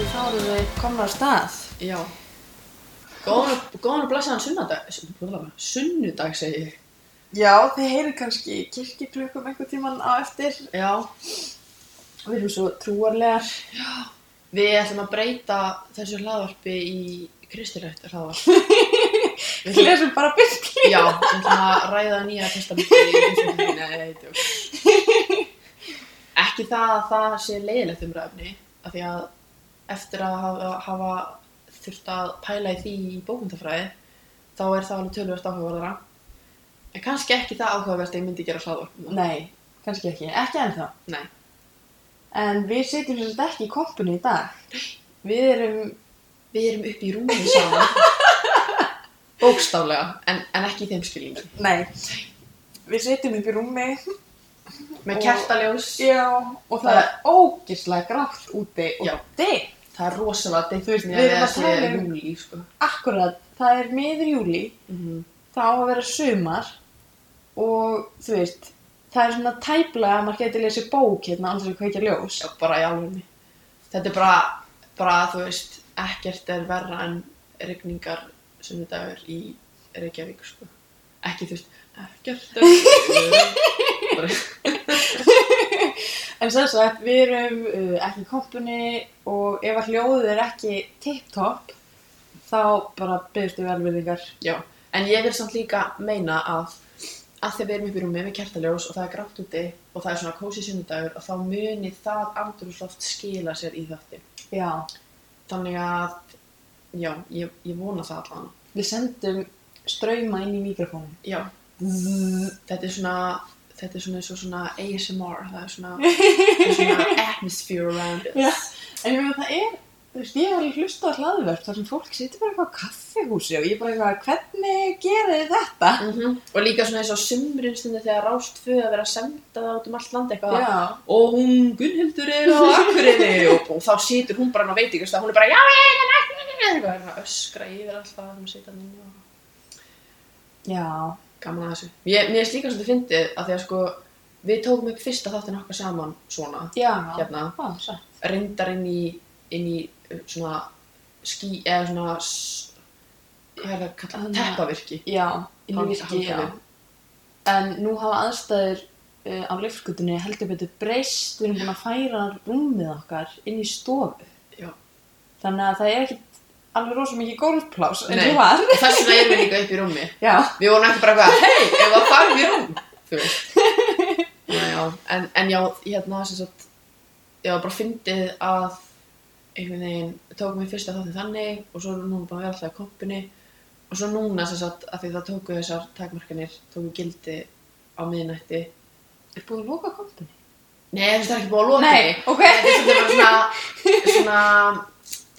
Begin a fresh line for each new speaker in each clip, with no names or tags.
allir komna á stað
Já. Góðan og- góðan og blessaðan sunnudag, sunnudag, sunnudag segi ég.
Já, þið heyri kannski kirkiklukkum einhvern tíman á eftir
Já.
Við erum svo trúarlegar
Við ætlum að breyta þessu hlaðvarpi í kristilegt hlaðvarp. Við
Við
ætlum-
lesum bara byrki
Já, við ætlum að ræða nýja testamenti í kristilegt. Nei, þetta Ekki það að það sé leiðilegt umræðumni, af því að eftir að hafa, hafa þurft að pæla í því í bókmyndafræði, þá er það alveg tölvöld áhugaverðara. En kannski ekki það áhugavert að ég myndi gera hlaðvarp. um það.
Nei, kannski ekki, ekki ennþá
Nei.
En við sitjum sérst ekki í kompunni í dag Við erum,
Við erum upp í rúmi saman Bókstaflega en, en ekki í þeim skilningi
nei Við sitjum upp í rúmi
Með
Og-
kertaljós
Já, og það er ógislega grátt úti og
Já.
dimmt
Það er rosalega deykt
Þú veist,
Við
við erum
erum
að tala um-
júli sko.
Akkurat, það er miður júli
Mhm.
það á að vera sumar og þú veist það er svona tæplega að maður geti lesið bók hérna án þess að kveikja ljós
Já, bara í alvegni Þetta er bara, bara, þú veist Ekkert er verra en regningar sunnudagur í Reykjavík sko. Ekki, þú veist Ekkert er bara,
en sem sagt við erum uh, ekki í kompunni og ef að hljóðið er ekki tip-top þá bara byrjast við velviðingar
Já, en ég vil samt líka meina að að þegar við erum upp í rúmi með kertaljós og það er grátt úti og það er svona kósi sunnudagur og þá muni það andrúsloft skila sér í þötti.
já,
Þannig að, já, ég, ég vona það allan.
við sendum ströyma inn í mikrofónum
Já,
Zzz.
þetta er svona, þetta er svona eins og svona ASMR, það er svona, það er svona atmosphere around it.
Já. en ég meina það er þú veist, ég var í hlusta á hlaðverk þar sem fólk situr bara eitthvað á kaffihúsi og ég bara eitthvað, hvernig gerði þetta?
Mhm. Og líka svona eins og sumrinstunni þegar rást fyrir að vera að senda það út um allt land eitthvað.
Já.
og hún Gunnhildur er á Akureyri og, og þá situr hún bara á veitingast hún er bara já ég er á Akureyri eitthvað er að öskra yfir alltaf að hún situr hann og
Já,
gaman að þessu ég, mér er slíka svolítið fyndið að því að sko við tókum upp fyrsta þáttin okkar saman svona
já,
hérna
já, satt.
reyndar inn í inn í uh, svona skí eða svona s- hvað er það að kalla
Þannig að-
teppavirki
Já, inn í
Hálf-
virki, já.
hálfgerðu.
En nú hafa aðstæður uh, á leifskutunni heldur betur breyst, við erum búin að færa rúmið okkar inn í stofu.
Já.
Þannig að það er ekkert alveg rosa mikið gólfplás eins
Nei.
og var.
og þess vegna erum við líka upp í rúmi
Já,
Við vorum ekki bara eitthvað, hei, ef það farum við rúm, þú veist. Já, já, en, en já, hérna, sem sagt, ég var bara fyndið að einhvern veginn tók mér fyrsta þáttið þannig og svo er núna bara að vera alltaf í kompinni og svo núna, sem sagt, að því það tóku þessar takmarkanir, tóku gildi á miðnætti.
er búin að loka kompunni.
Nei, þú veist, það er ekki búið að loka.
Nei, ok.
Þetta er svolítið bara svona, svona,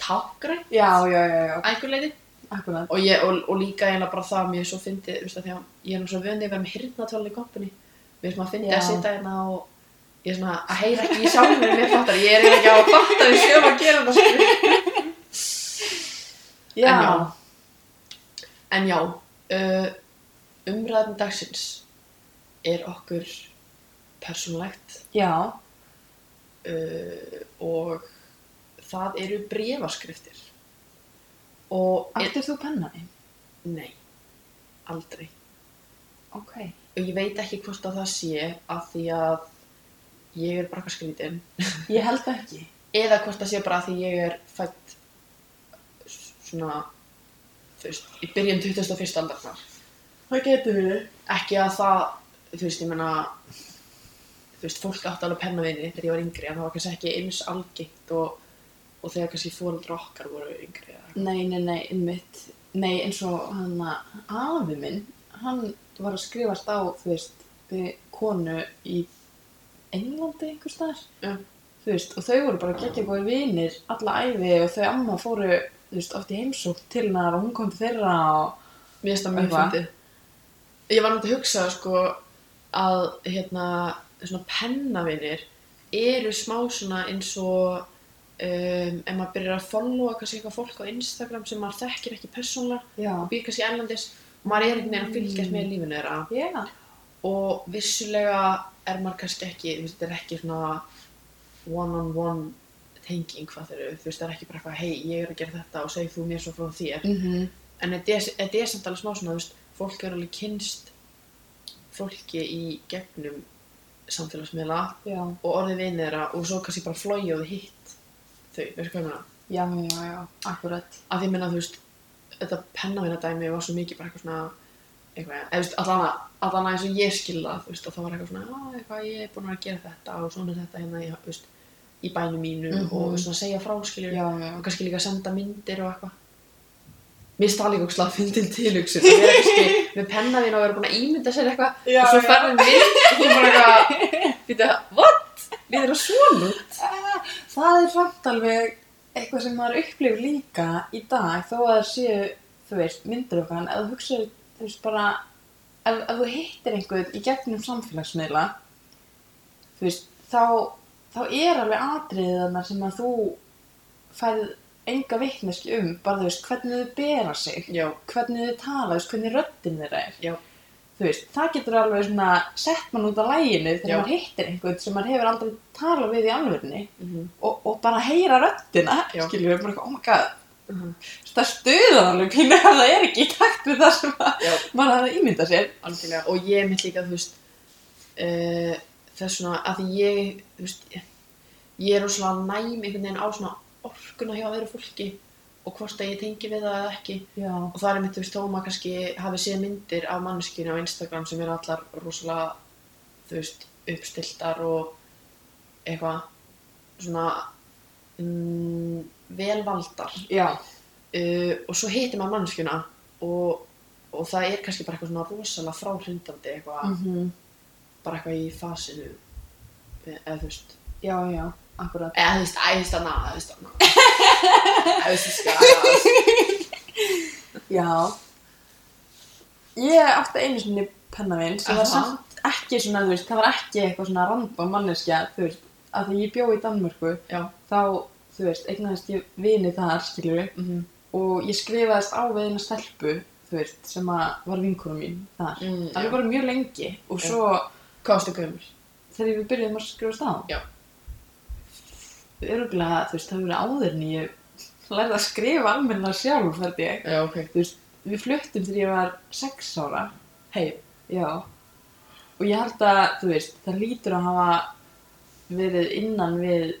tákgræn,
Já, já, já, já,
að einhver leiti.
akkurat.
og, ég, og, og líka eiginlega bara það að mér er svo fyndið, þú veist að því að ég er nú svo vöndið að vera með hirtnatóli í kompunni mér er svona fyndið að
Já.
sitja hérna og ég er svona að heyra ekki í sjálfur mér fattar, ég er eiginlega ekki á að fatta því sem að gera þetta sko.
Já,
En já. en já uh, umræðum dagsins er okkur persónlegt
já,
uh, og það eru brefaskriftir og er,
aftur þú pennaði.
nei, aldrei
Ok.
og ég veit ekki hvort að það sé að því að ég er bara eitthvað skrítin
Ég held ekki.
eða hvort það sé bara að því ég er fætt svona þú veist, í byrjun 21. aldarnar
Það getur við.
ekki að það, þú veist, ég meina þú veist, fólk átti alveg pennavinni þegar ég var yngri, en það var kannski ekki eins algengt og, og þegar kannski fólk okkar voru yngri eða eitthvað.
Nei, nei, nei, einmitt. Nei, eins og hann að afi minn, hann var að skrifast á, þú veist, við konu í Englandi einhvers staðar.
Já.
Þú veist, og þau voru bara geggja góði vinir alla æfi og þau amma fóru, þú veist, oft í heimsók til hennar og hún kom til þeirra og...
Mér finnst það mjög
Eitthvað.
fyndið. Ég var náttúrulega að hugsa sko að hérna svona pennavinir eru smá svona eins og um, ef maður byrjar að followa kannski eitthvað fólk á Instagram sem maður þekkir ekki persónulega
Já.
og býr kannski erlendis og maður er einhvern veginn að fylgjast með lífinu þeirra
Já.
og vissulega er maður kannski ekki, þú veist, þetta er ekki svona one on one tenging hvað þeir eru, þú veist, það er ekki bara eitthvað, hei, ég er að gera þetta og segð þú mér svo frá þér.
mm -hmm.
En þetta er- þetta er samt alveg smá svona, þú veist, fólk er alveg kynst fólki í gegnum samfélagsmiðla
já,
og orðið vinið þeirra og svo kannski bara flóið og hitt þau, veistu hvað ég meina?
já, já, já, akkurat
Af því ég meina, þú veist, þetta pennavinna dæmi var svo mikið bara eitthvað svona, eitthvað, eða þú veist, allana, allana eins og ég skilða, þú veist, að það var eitthvað svona, að eitthvað, ég er búin að gera þetta og svona er þetta hérna, ég, þú veist, í bænum mínu
Mhm.
og svona segja frá, skiljur,
já, já,
og kannski líka senda myndir og eitthvað. Mér stað líka ógslag að fyndin tilhugsun, það er kannski með pennaðin og vera búin að ímynda sér eitthvað
Já,
og svo
já.
ferðum við og þú bara eitthvað, býta, what? Við erum svona út.
Ah, það er samt alveg eitthvað sem maður upplifir líka í dag þó að það séu, þú veist, myndir okkar en ef þú hugsaður, þú veist, bara ef, ef þú hittir einhvern í gegnum samfélagsmiðla þú veist, þá, þá er alveg atriðið þarna sem að þú færð enga vitneski um bara þú veist, hvernig þau bera sig
Já,
hvernig þau tala, þú veist, hvernig röddin þeirra er
já,
þú veist, það getur alveg svona sett mann út af læginu þegar
Já.
maður hittir einhvern sem maður hefur aldrei talað við í alvörni
mm
og, og bara heyra röddina
Já.
skilur við bara eitthvað, oh my god
mhm.
það stuðar alveg pínu ef það er ekki í takt við það sem að
já,
maður hafði ímyndað sér
algjörlega. Og ég mitt líka, þú veist, uh, þess svona, að því ég, þú veist, ég, ég er óslega næm einhvern veginn á svona orkuna hjá öðru fólki og hvort að ég tengi við það eða ekki.
já,
og það er mitt, þú veist, þó maður kannski hafi séð myndir af manneskinu á Instagram sem eru allar rosalega, þú veist, uppstiltar og eitthvað svona mm, velvaldar
já,
uh, og svo hittir maður manneskjuna og, og það er kannski bara eitthvað svona rosalega fráhrindandi eitthvað,
mhm,
bara eitthvað í fasinu eða þú veist
já, já, akkurat
eða þú veist, æðist að naða, æðist að naða æðist að skara
já ég átti einu sinni pennavinn sem var
Aha.
samt ekki svona, þú veist, það var ekki eitthvað svona random manneskja, þú veist, að því ég bjó í Danmörku
já,
þá, þú veist, eignaðist ég vini þar, skilur við
mm -hmm.
og ég skrifaðist á við eina stelpu þú veist, sem að var vinkunum mín þar,
Mm, já.
alveg bara mjög lengi og
Já.
svo
kostu gömur
þegar við byrjuðum að skrifast á
Já.
örgulega, þú veist, það hefur verið áður en ég lærði að skrifa almenna sjálf þar ég,
já, ok
þú veist, við fluttum þegar ég var sex ára
hei,
já, og ég held að þú veist, það lítur að hafa verið innan við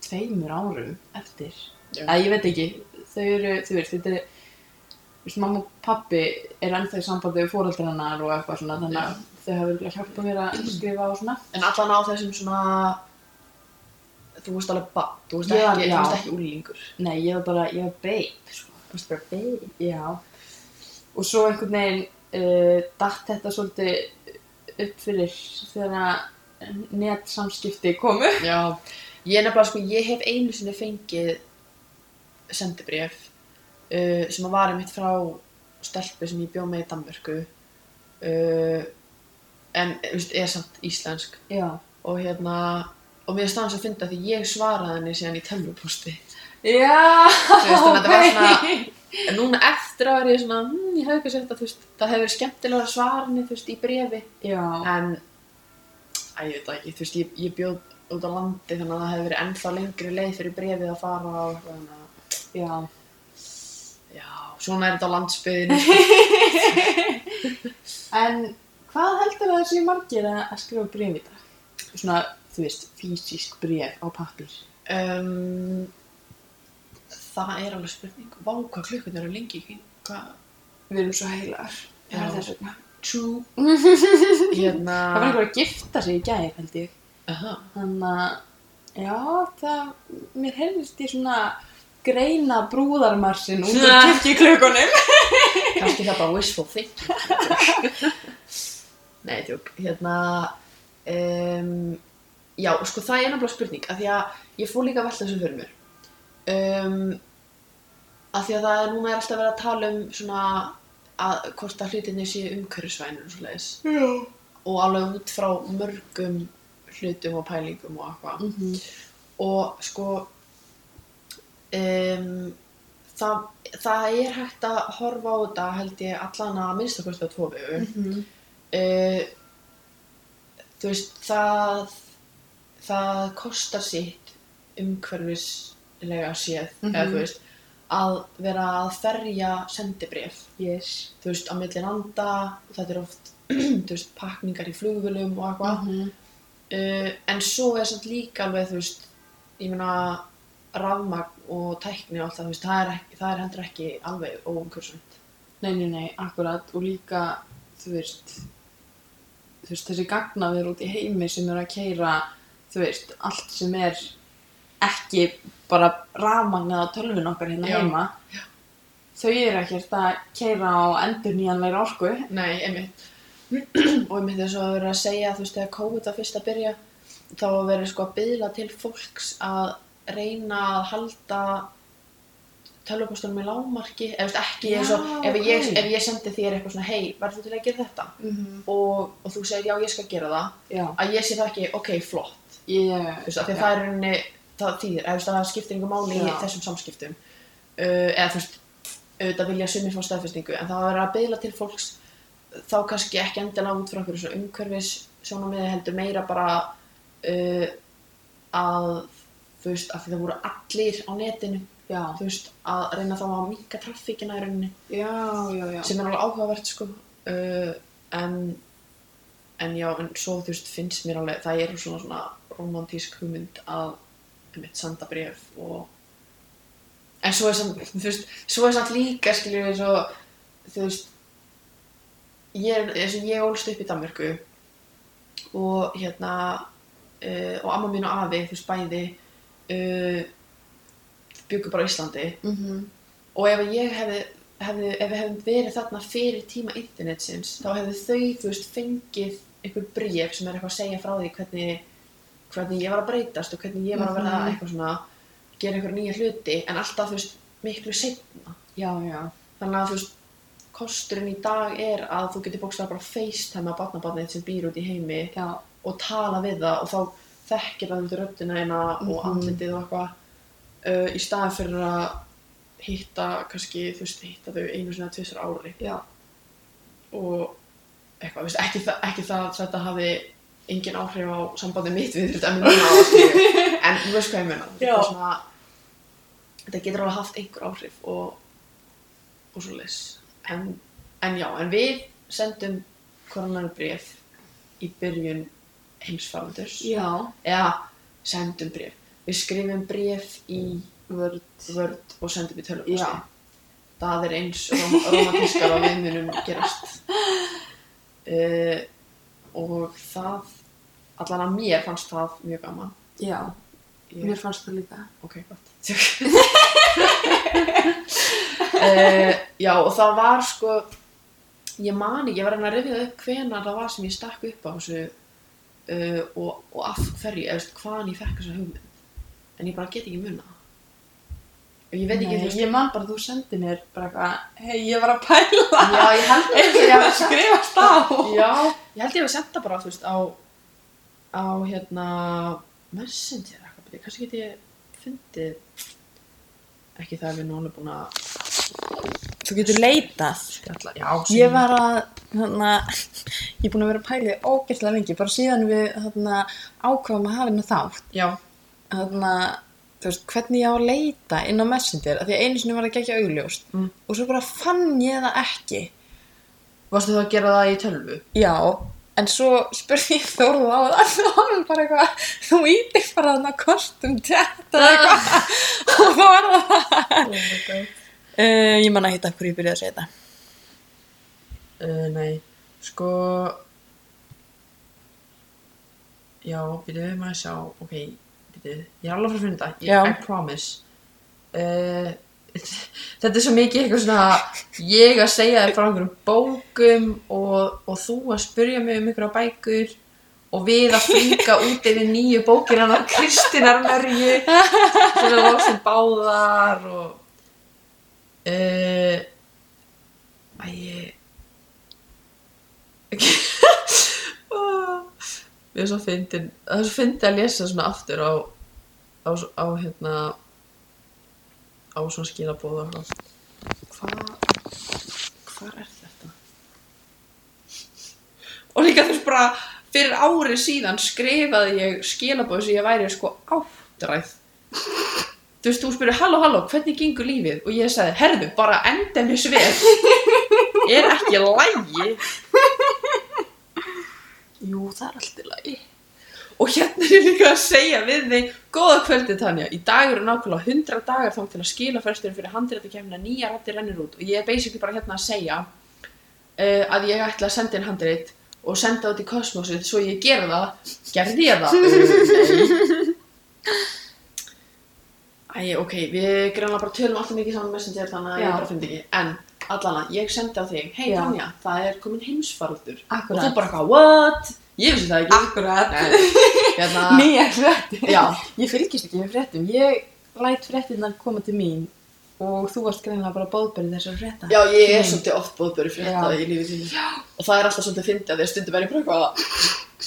tveimur árum eftir
já.
Æ, ég veit ekki, þau eru, þú veist, þetta er, þú veist, mamma og pappi eru ennþá í sambandi við fóröldar hennar og eitthvað svona, þannig að þau hafa örugglega hjálpað mér að skrifa á svona.
En allan á þessum svona, þú veist alveg ba, þú veist
Ég var-
ekki,
já.
þú veist ekki úlingur.
Nei, ég var bara, ég var babe, sko,
Þú veist bara baby.
já. Og svo einhvern veginn uh, datt þetta svolítið upp fyrir þegar að netsamskipti komu.
Já, ég er nefnilega sko, ég hef einu sinni fengið sendibréf uh, sem að var einmitt frá stelpu sem ég bjó með í Danmörku uh, en, þú veist, er samt íslensk
Já,
og hérna, og mér er staðans að finna því ég svaraði henni síðan í tölvupústi.
já,
veist, þannig að þetta var
ok.
En núna eftir á er ég svona, hm, ég hef ekki sett að þú veist, það hefur skemmtilega svarni, þú veist, í brefi.
Já,
en æ, ég veit það ekki, þú veist, ég, ég bjóð út á landi þannig að það hefði verið ennþá lengri leið fyrir brefið að fara og eitthvað þannig að,
já,
já, svona er þetta á landsbyðinu
en hvað heldur að þessi margir að að skrifa bréf í dag? Svona, þú veist, fysisk bréf á pappir.
um, það er alveg spurning vá, hvað klukkan eru lengi ekki hvað,
Við erum svo heilar.
Það er þess
vegna.
true,
Það var
hérna
einhver að gifta sig í gæði, held ég.
aha,
Þannig að, já, það, mér heyrðist ég svona greina brúðarmarsin út úr
Ja.
kirkjuklökunum.
kannski það bara wishful thinking nei, tjók, hérna um, já, sko það er nefnilega spurning af því að ég fór líka að velta þessu fyrir mér um, af því að það er núna er alltaf verið að tala um svona að hvort að hlutinni séu umhverfisvænir og svoleiðis
Já.
og alveg út frá mörgum hlutum og pælingum og eitthvað
Mm
og sko um, það, það er hægt að horfa á þetta held ég allan að minnstakosti á tvo vegu
Mhm.
uh, þú veist það það kostar sitt umhverfislega séð
Mhm.
eða þú veist að vera að ferja sendibrif
Yes.
þú veist á milli landa og þetta er oft þú veist pakningar í flugvölum og eitthvað
-hmm.
uh, en svo er samt líka alveg þú veist ég meina rafmagn og tækni og allt það þú veist það er, ekki, það er heldur ekki alveg óumhverfisvænt
Nei, nei, nei, akkurat og líka, þú veist, þú veist, þessi gagnaver út í heimi sem eru að keira, þú veist, allt sem er ekki bara rafmagnað á tölvun okkar hérna
Já.
heima, þau eru ekkert að keira á endur nýjanleira orku.
Nei, einmitt og einmitt þess að vera að segja þú veist þegar COVID var fyrst að byrja þá var verið sko að byðla til fólks að reyna að halda tölvupostunum í lágmarki eða þú veist ekki eins og
Já,
ef, ég,
ok.
ef ég sendi þér eitthvað svona hei, verður þú til að gera þetta?
Mm
Mhm.
-hmm.
Og, og þú segir já, ég skal gera það
Já,
að ég sé það ekki, ok, flott
ég...
þú veist, af því að
já.
það er í rauninni það þýðir, eða þú veist, það skiptir yngur máli í
Já.
þessum samskiptum uh, eða þú veist, auðvitað vilja sumir fá staðfestingu, en það að vera að byðla til fólks þá kannski ekki endilega út frá einhverju svona umhverfis sjónamiði heldur meira bara uh, að þú veist, af því það voru allir á netinu,
Já,
þú veist, að reyna þá að minka traffíkina í rauninni
já, já, já.
sem er alveg áhugavert sko uh, en en já, en svo þú veist finnst mér alveg það er svona svona romantísk hugmynd að einmitt senda bref og en svo er samt, þú veist, svo er samt líka skiljum við svo, þú veist ég er, eins og ég ólst upp í Danmörku og hérna uh, og amma mín og afi, þú veist, bæði uh, byggur bara á Íslandi
Mm -hmm.
og ef ég hefði, hefði ef við hefðum verið þarna fyrir tíma internetsins þá hefðu þau, þú veist, fengið einhver bréf sem er eitthvað að segja frá því hvernig, hvernig ég var að breytast og hvernig ég var að verða
Mhm.
eitthvað svona gera einhver nýja hluti, en alltaf, þú veist, miklu seinna
Já, já.
þannig að, þú veist, kosturinn í dag er að þú getur bókslega bara facetime að barnabarnið sem býr út í heimi
Já,
og tala við það og þá þekkir það út í röddina eina og
Mhm.
andlitið og eitthvað uh, í staðan fyrir að hitta kannski, þú veist, hitta þau einu sinna tvisar ári
já.
og eitthvað, veist, ekki, þa ekki það að þetta hafi engin áhrif á sambandi mitt við þetta en en þú veist hvað ég meina
Já.
Þetta er svona, þetta getur alveg haft einhver áhrif og, og svo leys en, en já, en við sendum koronar bréf í byrjun heimsfaraldurs
Já.
eða sendum bréf við skrifum bréf í
Vörd.
vörd og sendum í
Já.
tölvupósti það er eins rom romantískar að við munum gerast uh, og það allan að mér fannst það mjög gaman
Já, mér
ég,
fannst það líka.
ok, gott uh, já og það var sko ég man ekki, ég var að reyna að rifja upp hvenar það var sem ég stakk upp á þessu uh, og, og af hverju eða þú veist, hvaðan ég fekk þessa hugmynd en ég bara get ekki munna og ég veit ekki þú
Nei,
veist,
ég man bara að þú sendi mér bara eitthvað, hei, ég var að pæla
Já, ég held að
eins og ég hafa skrifast á.
Já, ég held ég að senda bara, þú veist, á, á hérna, Messenger eitthvað, byrja, kannski get ég fundið, ekki það að við núna búin að
Þú getur leitað.
skalla, já,
Ég var að, hérna, ég er búin að vera að pæla í ógeðslega lengi, bara síðan við, hérna, ákvæðum að hafa henni þátt.
já,
Hérna, þú veist, hvernig ég á að leita inn á Messenger, af því að einu sinni var það ekki augljóst.
Mm.
Og svo bara fann ég það ekki.
varstu þú að gera það í tölvu?
Já, en svo spurði ég Þórðu á það, þá var hann bara eitthvað, þú ítir bara þarna kostum tjátt eða eitthvað, og þá var það það.
Oh my god.
Uh, ég man að hitta hverju ég byrjaði að segja þetta.
Uh, nei, sko, já, byrjuðu maður að sjá, ok, byrjuðu, ég er alveg að fara að finna þetta,
Já.
ég- I promise. Uh, þetta er svo mikið eitthvað svona, ég að segja þér frá einhverjum bókum og, og þú að spyrja mig um einhverja bækur og við að flinga út yfir nýju bókina af Kristinar Mörju, sem er lóksinn báðar og... Uh, Æ, ég... Ég er svo fyndin, það er svo fyndið að lesa svona aftur á, á, á hérna, á svona skilabóð og hvað. Hvað, hvað er þetta? Og líka þú veist bara, fyrir árið síðan skrifaði ég skilabóð sem ég væri sko áttræð þú veist, þú spurði halló, halló, hvernig gengur lífið? Og ég sagði, herðu, bara endemis vel. Er ekki lægi.
Jú, það er allt í lagi.
Og hérna er ég líka að segja við þig, góða kvöldi Tanja, í dag eru nákvæmlega 100 dagar þá til að skila fyrsturinn fyrir handreitakefnina nýja rættir rennur út og ég er basically bara hérna að segja uh, að ég ætla að senda inn handreit og senda það út í kosmosið svo ég gera það, gerði ég það? Uh, nei. Æ, ok, við greinlega bara tölum alltaf mikið saman á messenger þannig að
Já.
ég bara finn ekki, en allana, ég sendi á þig, hei
Já.
Tanja, það er komin heimsfaraldur og þú
Akkurat.
bara eitthvað, what? Ég vissi það ekki.
Akkurat.
Nei, hérna,
Nýja fréttir.
Já.
Ég fylgist ekki með fréttum. Ég læt fréttirna koma til mín og þú varst greinlega bara bóðbyrðið þessar frétta.
Já, ég er
Nei.
svolítið oft bóðböri frétta
Já.
í lífi sínu. Og það er alltaf svolítið fyndið að því að stundum er ég bara eitthvað að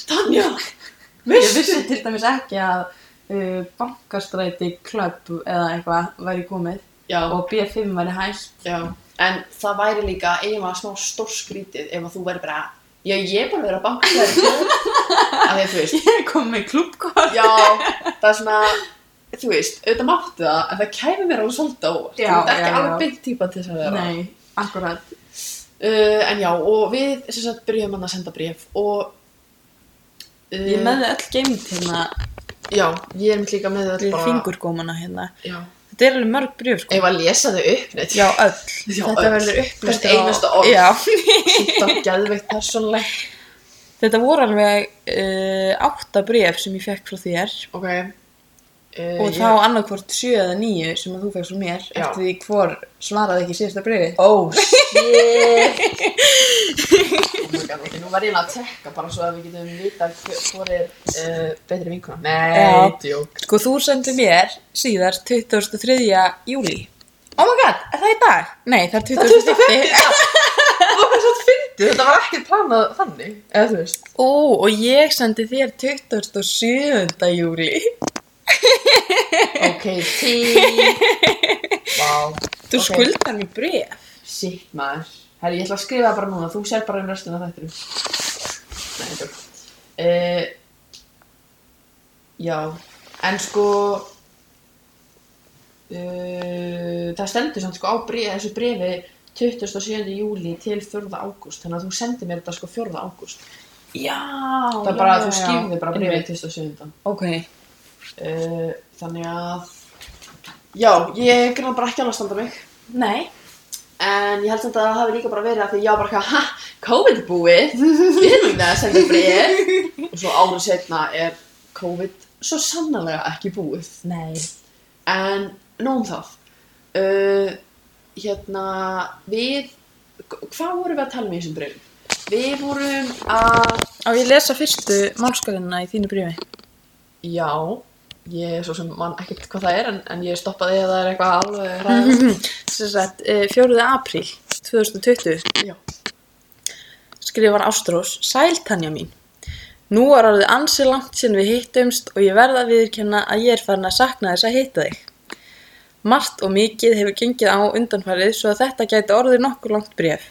Tanja,
Ég
veistu?
vissi til dæmis ekki að uh, bankastræti klubb eða eitthvað væri komið
Já,
og B5 væri hægt.
já. En það væri líka eiginlega smá stórskrítið ef að þú væri bara Já, ég er bara að vera að banka þér Af því að þú veist,
Ég kom með klubbkort.
já, það er svona Þú veist, auðvitað máttu það, en það kæmi mér alveg svolítið á óvart. Þú
Já,
veist ekki
já, já.
alveg beint típa til þess að vera.
Nei, akkurat.
Uh, en já, og við sem sagt byrjum hann að senda bréf og... Uh,
Ég er með þau öll geimt hérna,
Já, ég er mitt líka með þetta
við fingurgómana hérna.
Já.
Þetta er alveg mörg brjöf sko.
Ef að lesa þau upp neitt
Já, öll.
Já,
þetta
öll.
verður upplýst
Hvert einasta orð.
Já.
Þetta er gæðveikt persónlegt
Þetta voru alveg uh, átta brjöf sem ég fekk frá þér
Ok eh,
og þá
ég...
annarkvort sjö eða níu sem að þú fekk frá mér
Já.
eftir því hvor svaraði ekki síðasta brjöfi.
Oh shit Oh my god, ok, Nú var ég að tekka bara svo að við getum vita hver- hvor er uh, betri vinkona
Já.
Nei, djók
Sko, þú sendir mér síðar 23. júli. Oh my god, er það í dag? Nei, það er 25.
Það var svo fyndið, þetta var ekkert planað þannig Eða þú veist
Ó, og ég sendi þér 27. júli.
Ok, tí Vá
Þú
Ok.
skuldar mér bref.
Sitt maður Herri, ég ætla að skrifa það bara núna, þú sér bara um restina af þættinum Nei, djók uh, Já, en sko uh, Það stendur samt sko á brefi, þessu brefi 27. júli til 4. ágúst Þannig að þú sendir mér þetta sko 4. ágúst
Já,
Það er bara að þú skýrði bara brefið 27.
Ok,
Uh, þannig að Já, ég grann bara ekki alveg að standa mig
nei.
En ég held samt að það hafi líka bara verið að því ég var bara eitthvað, ha, COVID er búið, við erum það að senda breyð. Og svo árið setna er COVID svo sannlega ekki búið.
Nei.
En nóg um það. Uh, hérna, við, hvað vorum við að tala um í þessum breyðum? Við vorum að,
Á ég lesa fyrstu málskalina í þínu brefi.
já, ég er svo sem mann ekkert hvað það er, en, en ég stoppaði eða það er eitthvað alveg ræðið.
Sér sagt, eh, 4. apríl 2020
já,
skrifar Ástrós Sæltanja mín. Nú er orðið ansi langt sinn við hittumst og ég verða að viðurkenna að ég er farin að sakna þess að hitta þig. Margt og mikið hefur gengið á undanfarið svo að þetta gæti orðið nokkuð langt bréf.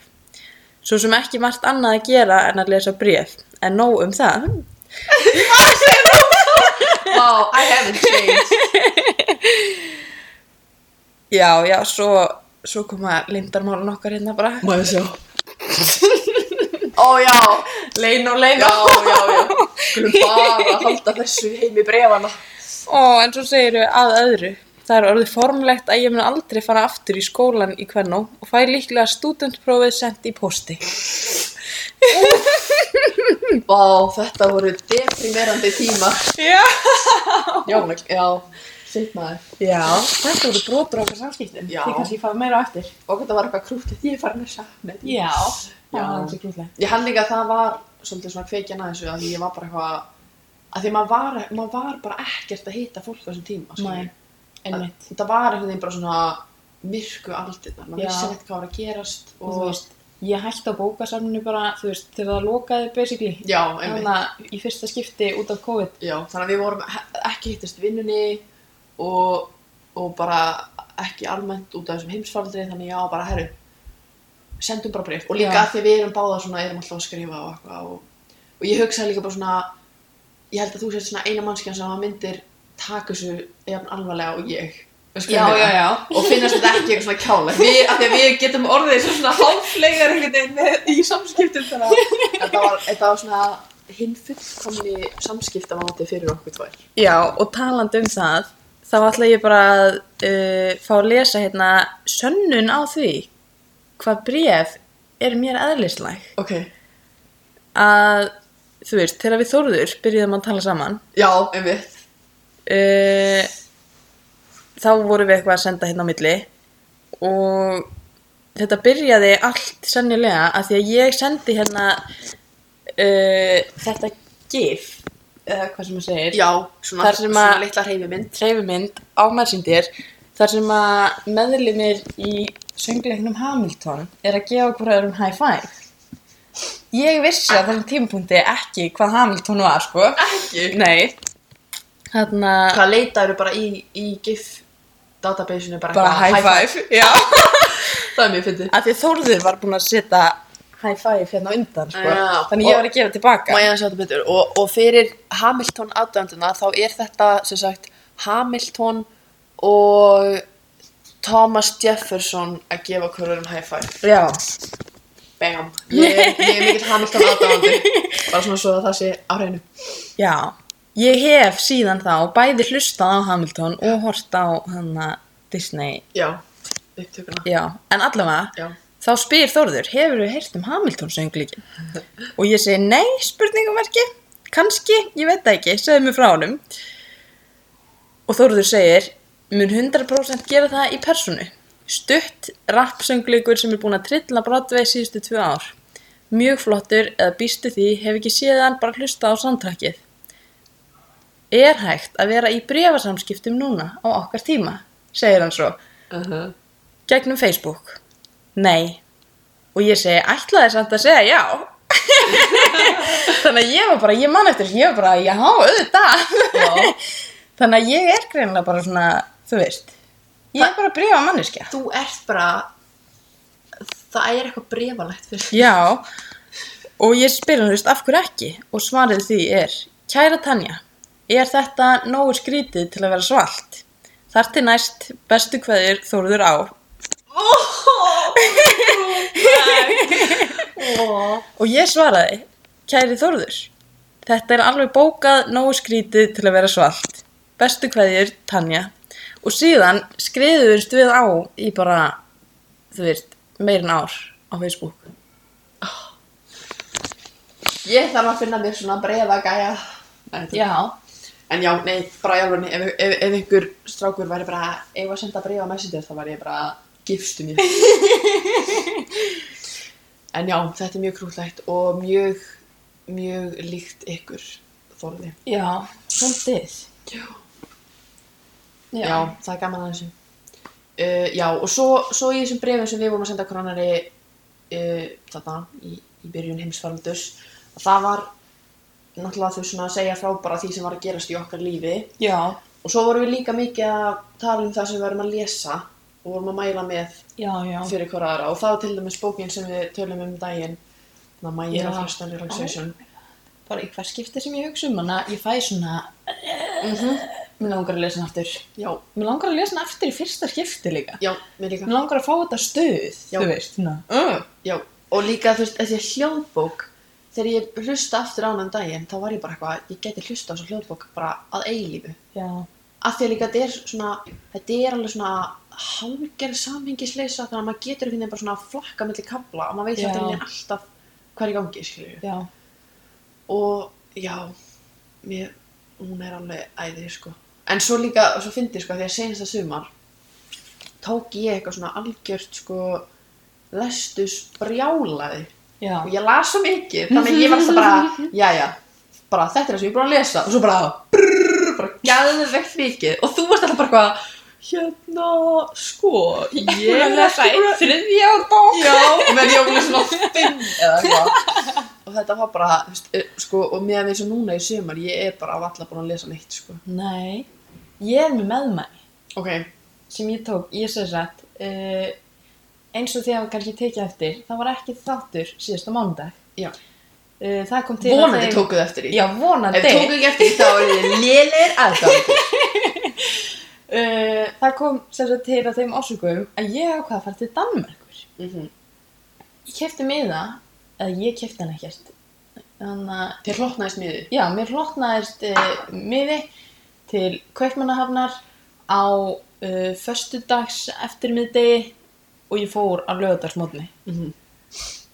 Svo sem ekki margt annað að gera en að lesa bréf, en nóg um það.
wow, I haven't changed.
Já, já, svo, svo koma lindarmálun okkar hérna bara.
Má ég sjá? Ó já,
Lein og lein
já,
og...
já, já. Skulum bara halda þessu heimi brefana.
Ó, en svo segir við að öðru. Það er orðið formlegt að ég mun aldrei fara aftur í skólan í Kvennó og fæ líklega stúdentprófið sendt í posti.
Vá, þetta voru deprimerandi tíma.
Já.
Já, nek- já, sitt maður.
Já, þetta voru brotur á okkar samskiptum.
Já.
Þið kannski fáið meira á eftir.
Og þetta var eitthvað krútið, ég er farin að sakna þetta.
Já. Það
Já.
var alveg grúðlega.
Ég held líka að það var svolítið svona kveikjan að þessu að ég var bara eitthvað, að því maður var, maður var bara ekkert að hitta fólk á þessum tíma. skilurðu.
einmitt.
Þetta var einhvern veginn bara svona myrku aldirnar, maður
Já.
vissi ekkert hvað var að gerast
Og þú veist, ég hætti á bókasamninu bara, þú veist, þegar það lokaði basically.
já, einmitt.
Þannig að í fyrsta skipti út af COVID.
Já, þannig að við vorum he- ekki hittist í vinnunni og, og bara ekki almennt út af þessum heimsfaldri þannig já, bara herru, sendum bara breyf og líka
Já.
að því að við erum báða svona, erum alltaf að skrifa og eitthvað og, og ég hugsaði líka bara svona ég held að þú sért svona eina mannskjan sem að myndir taka þessu jafn alvarlega og ég Við skulum
Já,
muna.
já, já.
og finnast þetta ekki eitthvað svona kjála við, af því að við getum orðið eins og svona hálflegar einhvern veginn með- í samskiptum þannig að þetta var, þetta var svona hinn fullkomni samskiptamáti fyrir okkur tvær
Já, og talandi um það, þá ætla ég bara að uh, fá að lesa hérna sönnun á því hvað bref er mér eðlislæg.
ok,
Að, þú veist, þegar við Þórður byrjuðum að tala saman,
já, einmitt
uh, þá vorum við eitthvað að senda hérna á milli og þetta byrjaði allt sennilega að því að ég sendi hérna uh, þetta gif, eða hvað sem að segir.
já, svona,
Þar sem að-
svona litla hreyfimynd
treyfumynd á meðsyndir þar sem að meðlimir í söngleiknum Hamilton er að gefa okkur öðrum high five. Ég vissi að þessum tímapunkti ekki hvað Hamilton var, sko.
ekki
Nei. Þarna
hvað leitaður bara í, í GIF database-inu bara,
bara
eitthvað,
high five. Já.
það er mjög fyndið
Af því Þórður var búinn að setja high five hérna á undan, sko.
Já.
Þannig ég
Og-
var að gefa tilbaka.
Má ég aðeins sjá þetta betur og, og fyrir Hamilton aðdönduna þá er þetta sem sagt Hamilton og Thomas Jefferson að gefa hverjum high five
Já.
Bam Ég, ég er mikill Hamilton aðdöndi bara svona svo að það sé á hreinu
Já. Ég hef síðan þá bæði hlustað á Hamilton og hort á hana Disney
Já, upptökuna
Já, en allavega,
Já.
þá spyr Þórður, hefur við heyrt um Hamilton sönglíkin? og ég segi, nei, spurningamarki, kannski, ég veit það ekki, segðu mér frá honum. Og Þórður segir, mun 100% gera það í personu. Stutt rappsönglíkur sem er búin að trilla Broadway síðustu tvö ár. Mjög flottur, eða býstu því, hef ekki séð hann bara hlusta á samtrakkið. Er hægt að vera í brefasamskiptum núna á okkar tíma, segir hann svo
uh -huh.
gegnum Facebook nei og ég segi, ætlaði samt að segja já þannig að ég var bara ég man eftir, þessu, ég var bara, já, auðvitað þannig að ég er greinilega bara svona, þú veist ég er bara að brífa manneskja
Þú ert bara það er eitthvað brefalegt fyrir
já, og ég spyr hann, þú veist, af hverju ekki og svarið því er, kæra Tanja er þetta nógu skrítið til að vera svalt þar til næst, bestu kveðir þóruður á
oh.
Og ég svaraði, kæri Þórður, þetta er alveg bókað nógu skrítið til að vera svalt. Bestu kveðjur, Tanja. Og síðan skriðuðust við á í bara, þú veist, meirin ár á Facebook.
Ah. Ég þarf að finna mér svona brefagæja Þetta
Já.
En já, nei, bara í alveg, ef, ef, ef einhver strákur væri bara, ef að senda bríð á messenger, þá væri ég bara, gifstu mér. en já, þetta er mjög krúllegt og mjög, mjög líkt ykkur, Þorði.
Já, svolítið.
Já.
Já.
það er gaman að þessu. Uh, já, og svo, svo í þessum brefum sem við vorum að senda koronari uh, þarna, í, í byrjun heimsfaraldurs, það var náttúrulega þau svona að segja frá bara því sem var að gerast í okkar lífi.
Já.
Og svo vorum við líka mikið að tala um það sem við varum að lesa og vorum að mæla með
Já, já.
fyrir hverja aðra og það var til dæmis bókin sem við tölum um daginn þannig að
Já.
mæla fastan relaxation
Bara í hver skipti sem ég hugsa um hana, ég fæ svona,
Mhm.
mér langar að lesa hana aftur.
Já,
Mér langar að lesa hana aftur í fyrsta skipti líka.
já, mér líka
Mér langar að fá þetta stuð,
Já.
þú veist. svona.
Já, og líka þú veist, þessi hljóðbók þegar ég hlusta aftur á hann daginn þá var ég bara eitthvað, ég geti hlusta á þessu hljóðbók bara að eilífu
Já.
af því að líka þetta er svona þetta er alveg svona hálger samhengisleysa þannig að maður getur einhvern veginn bara svona að flakka milli kabla og maður veit
Já.
þetta einhvern veginn alltaf hvað er í gangi, skilju
Já.
og já mér, hún er alveg æði sko. en svo líka, svo fyndi sko því að senasta sumar tók ég eitthvað svona algjört sko lestus brjálaði
Já.
og ég las svo mikið þannig að ég var alltaf bara, já já bara þetta er það sem ég er búin að lesa og svo bara, brrr, bara gæðvegt mikið og þú varst alltaf bara eitthvað hérna, sko ég
Ég er
ekki búin að-
þriðja ár bók.
Já, og meðan ég var búin svona fimm eða eitthvað. Og þetta var bara, þú veist, eh, sko, og meðan eins og núna í sumar, ég er bara valla búin að lesa neitt, sko.
Nei, ég er með meðmæli
Ok,
sem ég tók, ég sem sagt, uh, eins og því að kannski tekið eftir, það var ekki þáttur síðasta mánudag.
já.
Uh, það kom til
Vonandi tókuð eftir því.
Já,
Ef
vonandi.
þið tókuð ekki eftir því, þá er þið lélir aðdáð.
Uh, það kom sem sagt til á þeim ásökum að ég ákvað að fara til Danmerkur.
Mhm.
Ég kefti miða, eða ég kefti hann ekkert. Þannig að,
Þér hlotnaðist miði.
já, mér hlotnaðist uh, miði til Kaupmannahafnar á uh, föstudags eftirmiðdegi og ég fór á lögadagsmótni.
Mhm.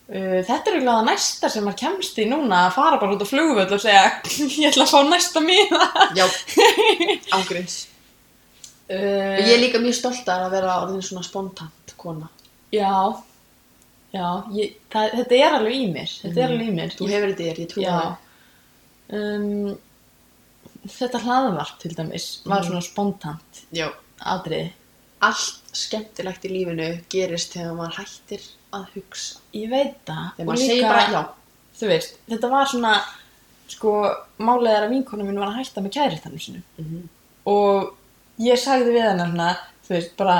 Uh, þetta er eiginlega það næsta sem maður kemst í núna að fara bara út á flugvöld og segja ég ætla að fá næsta miða.
Já, ágríns.
Uh,
Ég er líka mjög stolt að vera orðin svona spontant kona.
Já, já, ég, það, þetta er alveg í mér, þetta er alveg í mér.
Þú hefur þetta þér, ég trúi
já.
það.
Um, þetta hlaðvarp til dæmis var
Mhm.
svona spontant
Já.
atriði.
Allt skemmtilegt í lífinu gerist þegar maður hættir að hugsa.
Ég veit það.
Þegar
og
maður segir bara, já,
Þú veist, þetta var svona, sko, málið er að vinkona mín var að hætta með kæristanum sinu.
Mhm.
Og ég sagði við hennar svona, þú veist, bara,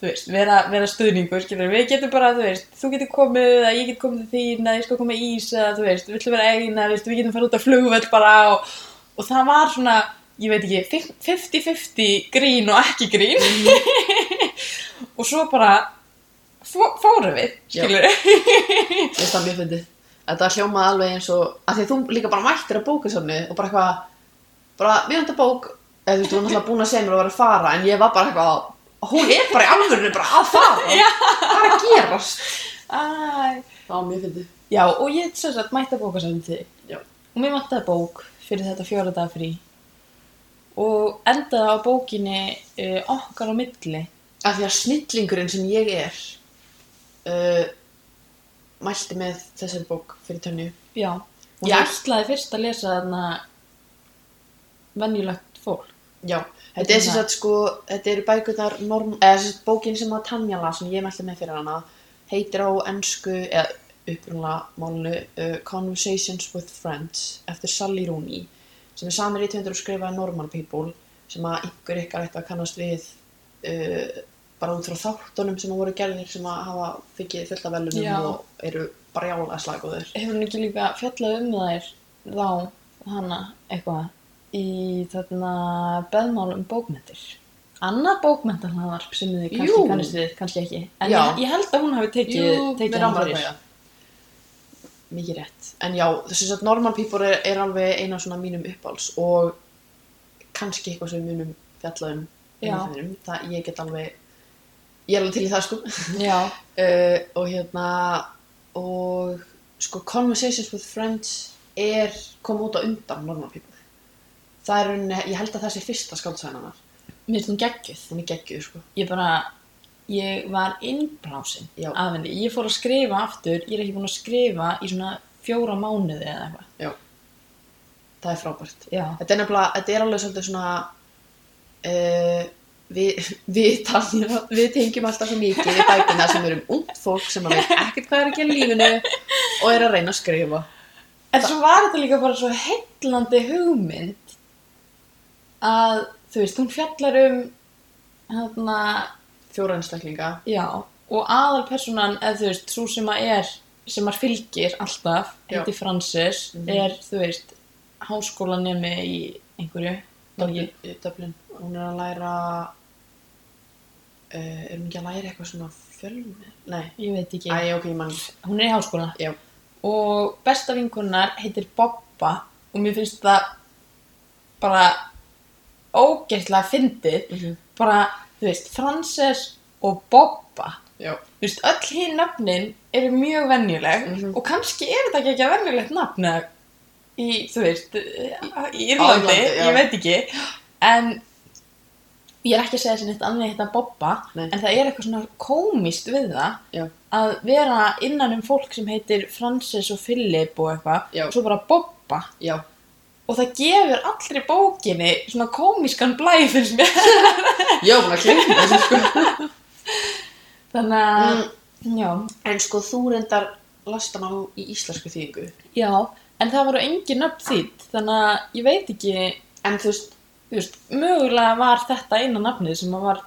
þú veist, vera, vera stuðningur, skilur, við getum bara, þú veist, þú getur komið, eða ég get komið til þín, eða ég skal koma í ís, eða þú veist, við ætlum vera eina, þú veist, við getum fara út á flugvöld bara og, og það var svona, ég veit ekki, fimm- 50-50 grín og ekki grín.
Mhm.
og svo bara, fó- fórum við,
Já.
skilur.
Mér finnst það mjög fyndið. Þetta hljómaði alveg eins og, að því að þú líka bara mættir að bóka sannu og bara eitthvað, bara, við höfum þetta bók, eða þú veist, þú var náttúrulega búin að segja mér að vera að fara, en ég var bara eitthvað, hún er bara í alvörinu bara að fara.
Já.
Það er að gerast.
Æ,
Það var mjög fyndið.
Já, og ég sem sagt mætti að bóka saman þig.
Já.
Og mér vantaði bók fyrir þetta fjóra daga frí. Og endaði á bókinni uh, okkar á milli.
Af því að snillingurinn sem ég er, uh, mælti með þessari bók fyrir tönnu.
Já.
Og
Ég
það-
ætlaði fyrst að lesa þarna venjulegt fólk.
Já, þetta er sem sagt sko, þetta eru bækurnar, norm, eða sem sagt bókin sem að Tanja las, sem ég mælti með fyrir hana, heitir á ennsku, eða upprunalega málinu, uh, Conversations with Friends, eftir Sally Rooney, sem er samir í töndur og skrifaði Normal People, sem að ykkur ykkar ætti að kannast við uh, bara út frá þáttunum sem að voru gerðir sem að hafa fikið fullt af velunum
Já.
og eru bara jálega slagóður.
Hefur hún ekki líka fjallað um þær þá hana eitthvað í þarna beðmál um bókmyndir. Annað bókmyndarhlaðarp sem þið kannski
Jú.
kannast við, kannski ekki. En
Já.
ég, ég held að hún hafi tekið, tekið hann fyrir.
Mikið rétt. En já, þess að Norman People er, er alveg eina svona mínum uppáls og kannski eitthvað sem við munum fjalla um
Já.
einhverjum. Það ég get alveg, ég er alveg til í það sko.
Já.
uh, og hérna, og sko Conversations with Friends er kom út á undan Norman People. Það er, rauninni- ég held að það sé fyrsta skáldsæðanar.
Mér finnst hún geggjuð.
Hún er geggjuð sko.
Ég bara, ég var innblásin
Já.
af henni. Ég fór að skrifa aftur, ég er ekki búin að skrifa í svona fjóra mánuði eða eitthvað.
Já. Það er frábært.
Já.
Þetta er nefnilega, þetta er alveg svolítið svona uh, við, við tannja, við tengjum alltaf svo mikið við bækina sem erum ungt fólk sem að veit ekkert hvað er að gera í lífinu og er að reyna að skrifa.
En svo var þetta líka bara svo heitlandi hugmynd að, þú veist, hún fjallar um, hérna,
Fjóra einstaklinga.
já, og aðalpersonan, eða þú veist, svo sem að er, sem að fylgir alltaf,
Já.
heiti Francis,
Mhm.
er, þú veist, háskólanemi í einhverju, Norgi.
Dublin, eh, Dublin. Hún er að læra uh, er hún ekki að læra eitthvað svona fjölmi? Nei.
Ég veit ekki.
Æ, ok, ég mann.
hún er í háskóla
Já.
og besta vinkunnar heitir Bobba og mér finnst það bara ógeðslega fyndið
Mhm.
bara, þú veist, Frances og Bobba
Já.
þú veist, öll hinn nöfnin eru mjög venjuleg
Mhm.
og kannski er þetta ekki ekki venjulegt nafn eða í, þú veist, í
Á
Írlandi,
Írlandi, já.
ég veit ekki en ég er ekki að segja sér neitt annað þetta Bobba
Nei.
en það er eitthvað svona komist við það
Já.
að vera innan um fólk sem heitir Francis og Philip og eitthvað
Já.
og svo bara Bobba
Já.
og það gefur allri bókinni svona komískan blæ finnst mér
Já, hún er að klingja þessu sko.
þannig að, já,
En sko, þú reyndar lastan á í íslensku þýðingu.
já en það voru engin nöfn þýtt þannig að ég veit ekki
En þú veist,
þú veist, mögulega var þetta eina nafnið sem að var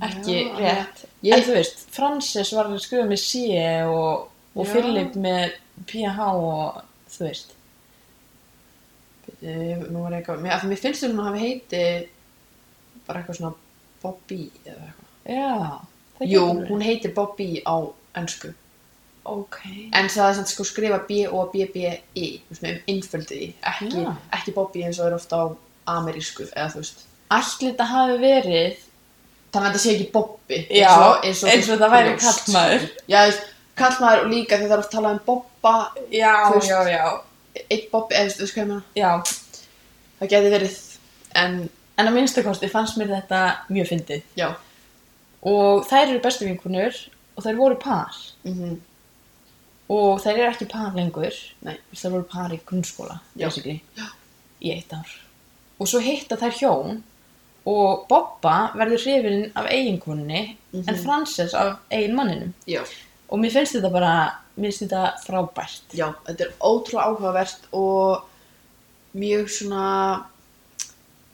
ekki
Já.
rétt
Ég-
en þú veist, Francis var að skrifa með C og, og
Já.
Philip með PH og þú veist
Eh, Nú var ég eitthvað, mér, af því mér finnst þér svona að hafa heiti bara eitthvað svona Bobby eða eitthvað.
Já. það
Jú,
getur verið.
hún heitir Bobby á ennsku.
Ok.
En það er samt sko skrifa B-O-B-B-I, þú veist, með um innföldið í, ekki,
Já.
ekki Bobby eins og er ofta á amerísku, eða þú veist.
Allt þetta hafi verið,
Þannig að þetta sé ekki Bobby,
Já,
eins
eins og
þú-
það væri
þú veist.
kallmaður.
Já, þú veist, kallmaður og líka þegar það er oft talað um Bobba,
Já,
Þú veist.
já, já.
eitt Bobby, eða þú veist, þú veist hvað ég meina.
Já.
Það geti verið, en
En að minnstu kosti fannst mér þetta mjög fyndið.
já,
Og þær eru bestu vinkunur og þær voru par.
mm
Mhm. Og þær eru ekki par lengur.
Nei.
Þær voru par í grunnskóla,
Já.
basically.
Já.
Í eitt ár. Og svo hitta þær hjón og Bobba verður hrifin af eiginkoninni en
Mhm.
Frances af eigin manninum.
já.
Og mér finnst þetta bara, mér finnst þetta frábært.
Já, þetta er ótrúlega áhugavert og mjög svona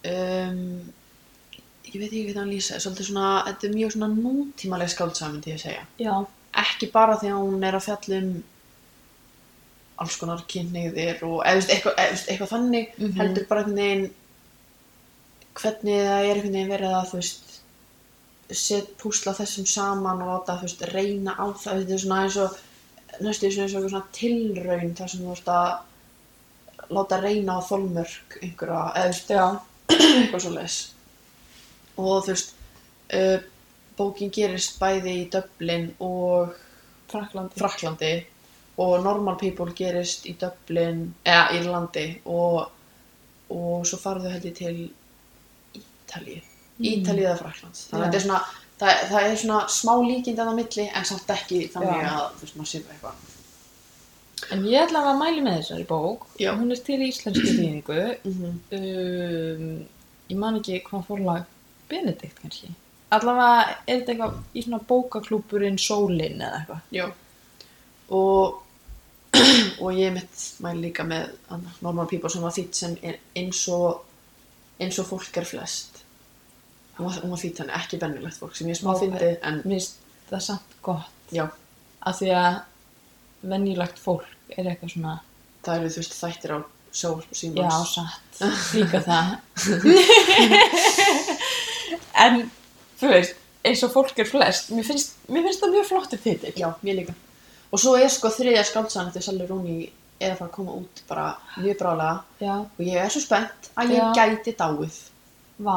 um, ég veit ekki hvað hann lýsa þessu, svolítið svona, þetta er mjög svona nútímaleg skáldsaga myndi ég að segja
Já.
ekki bara því að hún er að fjalla um alls konar kynniðir og eða, þú veist, eitthvað, eða, þú veist, eitthvað þannig
Mhm.
heldur bara einhvern veginn hvernig það er einhvern veginn verið að þú veist set púsla þessum saman og láta þú veist reyna á það þetta er svona eins og næstu þessu eins og einhver svona tilraun þar sem þú veist að láta reyna á þólmörk einhverja eða þú veist
Já.
eitthvað svo og þú veist uh, bókin gerist bæði í Dublin og
Fraklandi.
Fraklandi og Normal People gerist í Dublin eða Írlandi og, og svo farðu held ég til Ítalíu Ítalíu eða Fraklands þannig að
Mm. Já.
þetta er svona það, það er svona smá líkind að það milli en samt ekki þannig
Já.
að þú veist maður sér bara eitthvað
En ég ætla að mæli með þessari bók.
Já.
Hún er til í íslenski þýðingu.
mm -hmm.
Um, ég man ekki hvað fórlag Benedikt kannski. Allavega er þetta eitthvað í svona bókaklúpurinn Sólinn eða eitthvað.
Já. Og, og ég mitt mæli líka með hana, normal people sem var þýtt sem er eins og, eins og fólk er flest. Hún var, hún var þýtt hann ekki bennulegt fólk sem ég smá
Já,
fyndi en
Mér finnst það samt gott
já,
af því að venjulegt fólk er eitthvað svona
það eru þú veist þættir á sól
já,
símans.
satt, líka það en þú veist, eins og fólk er flest mér finnst, mér finnst það mjög flottu titill
Já, mér líka. Og svo er sko þriðja skáldsana til Sally Rooney er að fara að koma út bara mjög brálega
já,
og ég er svo spennt að ég
Já.
gæti dáið.
vá,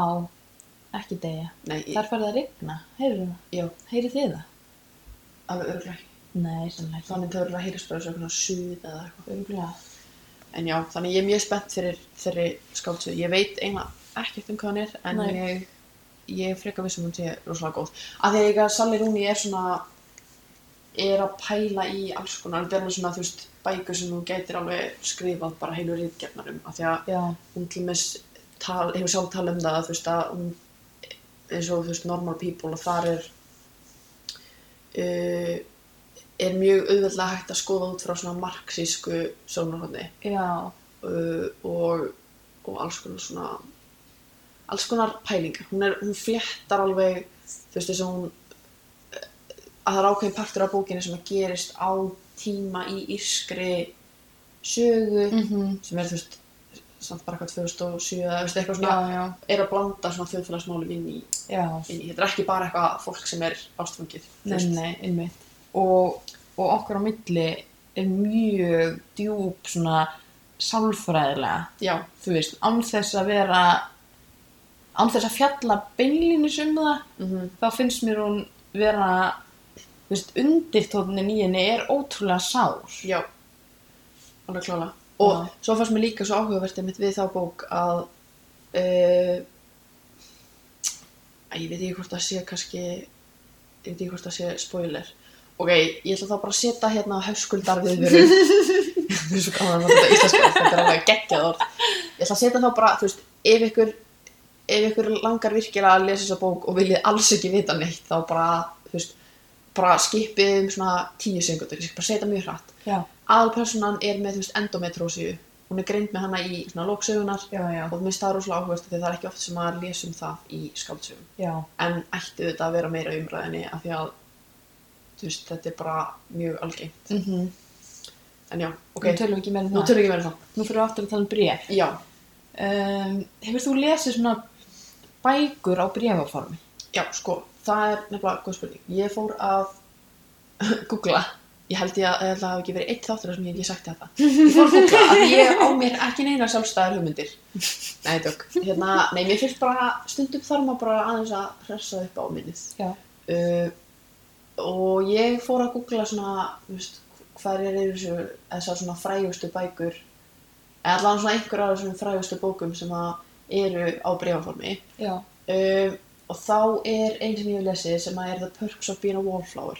ekki degja
Nei, ég,
þar farið að rigna, heyrðu það
já,
heyrið þið það?
alveg örgulega ekki.
nei, sannlega
Þannig það örgulega heyrist bara svo eitthvað suð eða eitthvað.
Örugglega.
En já, þannig ég er mjög spennt fyrir þeirri skáldsöðu. Ég veit eiginlega ekkert um hvað hann er, en
Nei.
ég, ég er frekar vissum hún sé rosalega góð. Af því að líka Sally Rooney er svona, er að pæla í alls konar, þetta er alveg svona, þú veist, bækur sem hún gætir alveg skrifað bara heilu rítgjarnar um. Af því að
já,
hún til með tal, hefur sjálf talað um það, að, þú veist, að hún, eins og, þú veist, normal people, og þar er, uh, er mjög auðveldlega hægt að skoða út frá svona marxísku sjónarhóðni
já,
uh, og, og alls konar svona alls konar pælingar hún, er, hún fléttar alveg þú veist þess að hún eh, að það er ákveðin partur af bókinni sem að gerist á tíma í írskri sögu
mhm
sem er þú veist samt bara eitthvað 2007 eða þú veist,
já,
eitthvað svona
já,
er að blanda svona þjóðfélagsmálum inn í,
já,
inn í þetta er ekki bara eitthvað fólk sem er ástfangið þú
nei,
veist.
nei, einmitt og, og okkur á milli er mjög djúb svona sálfræðilega
já,
þú veist, án þess að vera án þess að fjalla beinlínis um það
mm
þá finnst mér hún vera þú veist, undirtónin í henni er ótrúlega sár
Já, alveg klála. Og
Já.
svo fannst mér líka svo áhugavertið mitt við þá bók að uh, að ég veit ekki hvort það sé kannski ég veit ekki hvort það sé spoiler. Ok, ég ætla þá bara að setja hérna höfskuldar við verum. það er svo gaman að þetta íslenska orð, þetta er alveg geggjað orð. Ég ætla að setja þá bara, þú veist, ef ykkur ef ykkur langar virkilega að lesa þessa bók og viljið alls ekki vita neitt þá bara, þú veist, bara skipið um svona tíu sekundur, ég skal bara setja mjög hratt
já,
aðalpersonan er með þú veist, endometrósíu hún er greind með hana í svona lóksögunar
já, já,
og mér staður rosalega áhugast því það er ekki oft sem að lesum það í skáldsögum
já,
en ætti þetta að vera meira í umræðinni af því að þú veist, þetta er bara mjög algengt
mm -hmm.
en já, ok,
nú tölum við ekki meira um
nú
það
törnum ég verið það
nú fyrir við aftur að tala um bréf
já,
um, hefur þú lesið svona
bækur á bréfaformi?
Já, sko, það er nefnilega góð spurning. Ég fór að googla. Ég held ég að, ég held að það hafi ekki verið eitt þáttur þar sem ég hef ekki sagt þetta. Ég fór að googla að ég á mér ekki neina sjálfstæðar hugmyndir. Nei, tök. Hérna, nei, mér fyrst bara stundum þarf maður bara aðeins að hressa upp á minnið.
Já.
Uh, og ég fór að googla svona, þú veist, hvað er þessu, þessar svona frægustu bækur, eða allavega svona einhverja af þessum frægustu bókum sem að eru á bréfaformi.
Já.
Um, og þá er einn sem ég hef lesið sem að er The Perks of Being a Wallflower.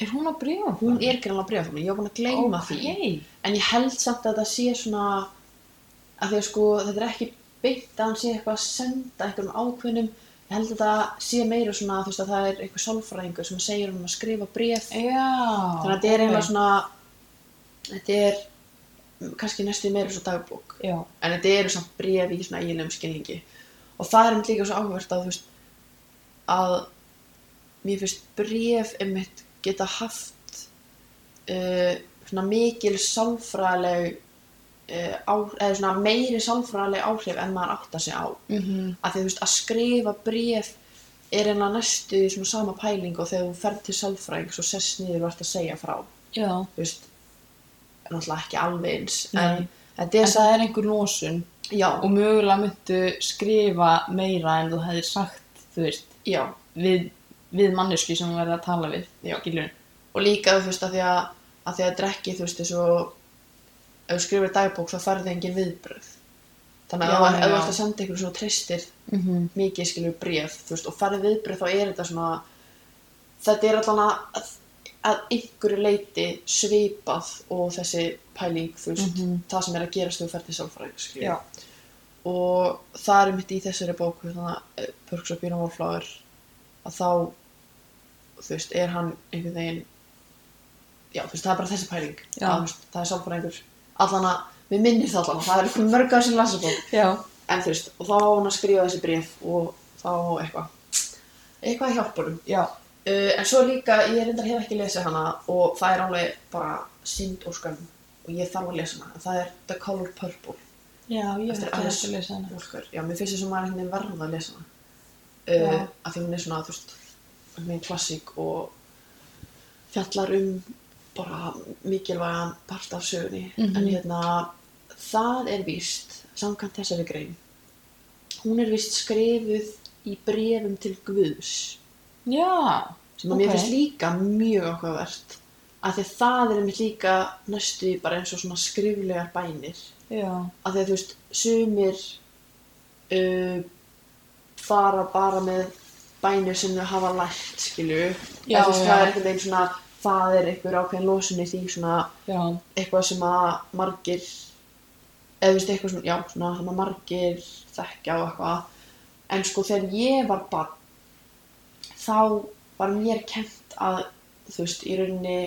Er hún á bréfaformi?
Hún er greinlega bréfaformi, ég var búin að gleyma því.
Ókei.
En ég held samt að það sé svona, að því að sko þetta er ekki beint að hann sé eitthvað að senda einhverjum ákveðnum. Ég held að það sé meira svona, þú veist að það er einhver sálfræðingur sem segir hann að skrifa bréf.
Já.
Þannig að þetta er einhver svona, þetta er mm, kannski næstu meira svo dagbók
Já.
en þetta eru samt bref í svona eiginlegum skilningi og það er mér líka svo áhugavert að þú veist að mér finnst bref einmitt geta haft uh, svona mikil sálfræðileg uh, á, eða svona meiri sálfræðileg áhrif en maður átta sig á
Mm -hmm.
að því þú veist að skrifa bref er einlega næstu í svona sama pæling og þegar þú ferð til sálfræðing svo sess niður og ert að segja frá
Já.
þú veist er náttúrulega ekki alveg eins
Nei.
en þetta
En
er það
það er einhver lósun
já,
og mögulega myndu skrifa meira en þú hefðir sagt, þú veist,
já
við, við manneski sem þú verður að tala við.
Já.
Skilur.
og líka þú veist að því að, að því að drekki þú veist eins og ef þú skrifir dagbók þá færði engin viðbröð þannig
Já,
að ef- ef
já.
þú ert að senda ykkur svo tristir
Mm -hmm.
mikið skilur bréf þú veist og færði viðbröð þá er þetta svona þetta er allan að að einhverju leiti svipað og þessi pæling þú veist,
Mhm.
það sem er að gerast þegar þú ferð til sálfræðing skilur.
Já.
og það er mitt í þessari bóku þannig að eh, Perks of Being a Wallflower að þá þú veist, er hann einhvern veginn já, þú veist, það er bara þessi pæling
Já.
að, þú veist, það er sálfræðingur allan að, mér minnir það allan að það er einhvern mörg að sem lasabók
Já.
en þú veist, og þá á hann að skrifa þessi bréf og þá eitthvað eitthvað að hjálpa honum
Já.
uh, en svo líka, ég reyndar hef ekki lesið hana og það er alveg bara synd og skömm og ég þarf að lesa hana en það er The Color Purple
Já, ég
Eftir
hef
að
ekki
lesa-
að lesa hana.
Volker, já, mér finnst þess að maður einhvern veginn verða að lesa hana uh,
Já.
af því hún er svona, þú veist, einhvern veginn klassík og fjallar um bara mikilvægan part af sögunni
Mhm.
en hérna, það er víst samkvæmt þessari grein hún er víst skrifuð í brefum til Guðs
Já.
sem okay. mér
Ok.
finnst líka mjög áhugavert af því að það er mér líka næstu í bara eins og svona skriflegar bænir
Já.
að því að þú veist, sumir uh, fara bara með bænir sem þau hafa lært, skilju
Já,
Eða þú veist, það
já.
er einhvern veginn svona það er einhver ákveðin lósun í því svona
Já.
eitthvað sem að margir eða þú veist, eitthvað svona, já, svona sem að margir þekkja og eitthvað en sko þegar ég var barn þá var mér kent að þú veist, í rauninni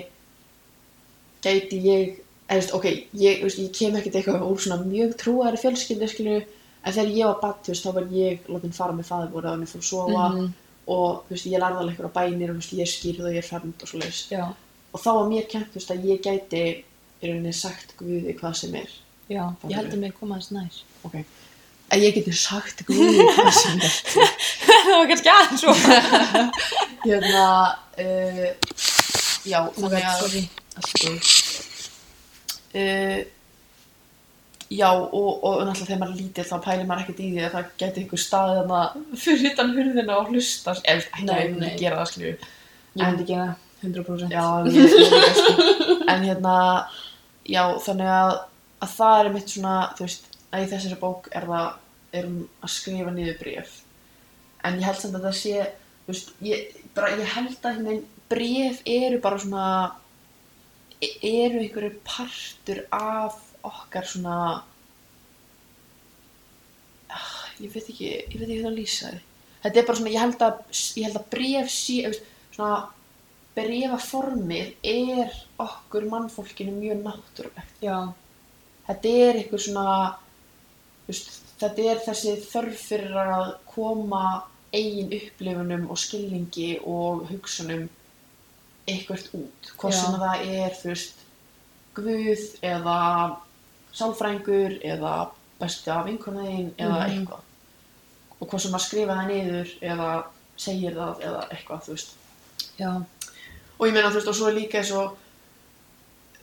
gæti ég eða, þú veist, ok, ég, þú veist, ég kem ekkert eitthvað úr svona mjög trúari fjölskyldu skilju, en þegar ég var barn, þú veist, þá var ég látin fara með faðir voru að hann fór að sofa
Mhm.
og þú veist, ég lærði alveg eitthvað á bænir og þú veist, ég er skýrð og ég er fernd og svo leist
Já.
og þá var mér kent þú veist að ég gæti í rauninni sagt Guði hvað sem er
Já. Ég held
Fattarðu?
að mig koma aðeins nær.
ok að ég geti sagt Guði hvað sem er
það var kannski aðeins svo.
hérna uh, já þannig að
Sorry.
sko uh, já og, og náttúrulega þegar maður er lítill þá pælir maður ekkert í því að það gæti einhver stað þarna fyrir utan hurðina og hlusta ef ekki
Nei,
að
nei.
gera það skilju
Ég myndi gera 100%.
já, ég, ég líka, sko. en hérna já, þannig að, að það er mitt svona, þú veist, að í þessari bók er það er hún að skrifa niður bréf en ég held samt að það sé þú veist, ég, bara, ég held að hérna, bréf eru bara svona e- eru einhverju partur af okkar svona Ah, ég veit ekki, ég veit ekki hvað að lýsa því þetta er bara svona, ég held að, ég held að bréf sé, þú veist, svona brefaformið er okkur mannfólkinu mjög náttúrulegt.
Já.
Þetta er eitthvað svona, þú veist, þetta er þessi þörf fyrir að koma eigin upplifunum og skilningi og hugsunum eitthvað út. Hvort
Já.
sem það er, þú veist, guð eða sálfrængur eða besta vinkonæðin eða
Mhm.
eitthvað. og hvort sem maður skrifa það niður eða segir það eða eitthvað, þú veist.
já,
Og ég meina, þú veist, og svo er líka eins og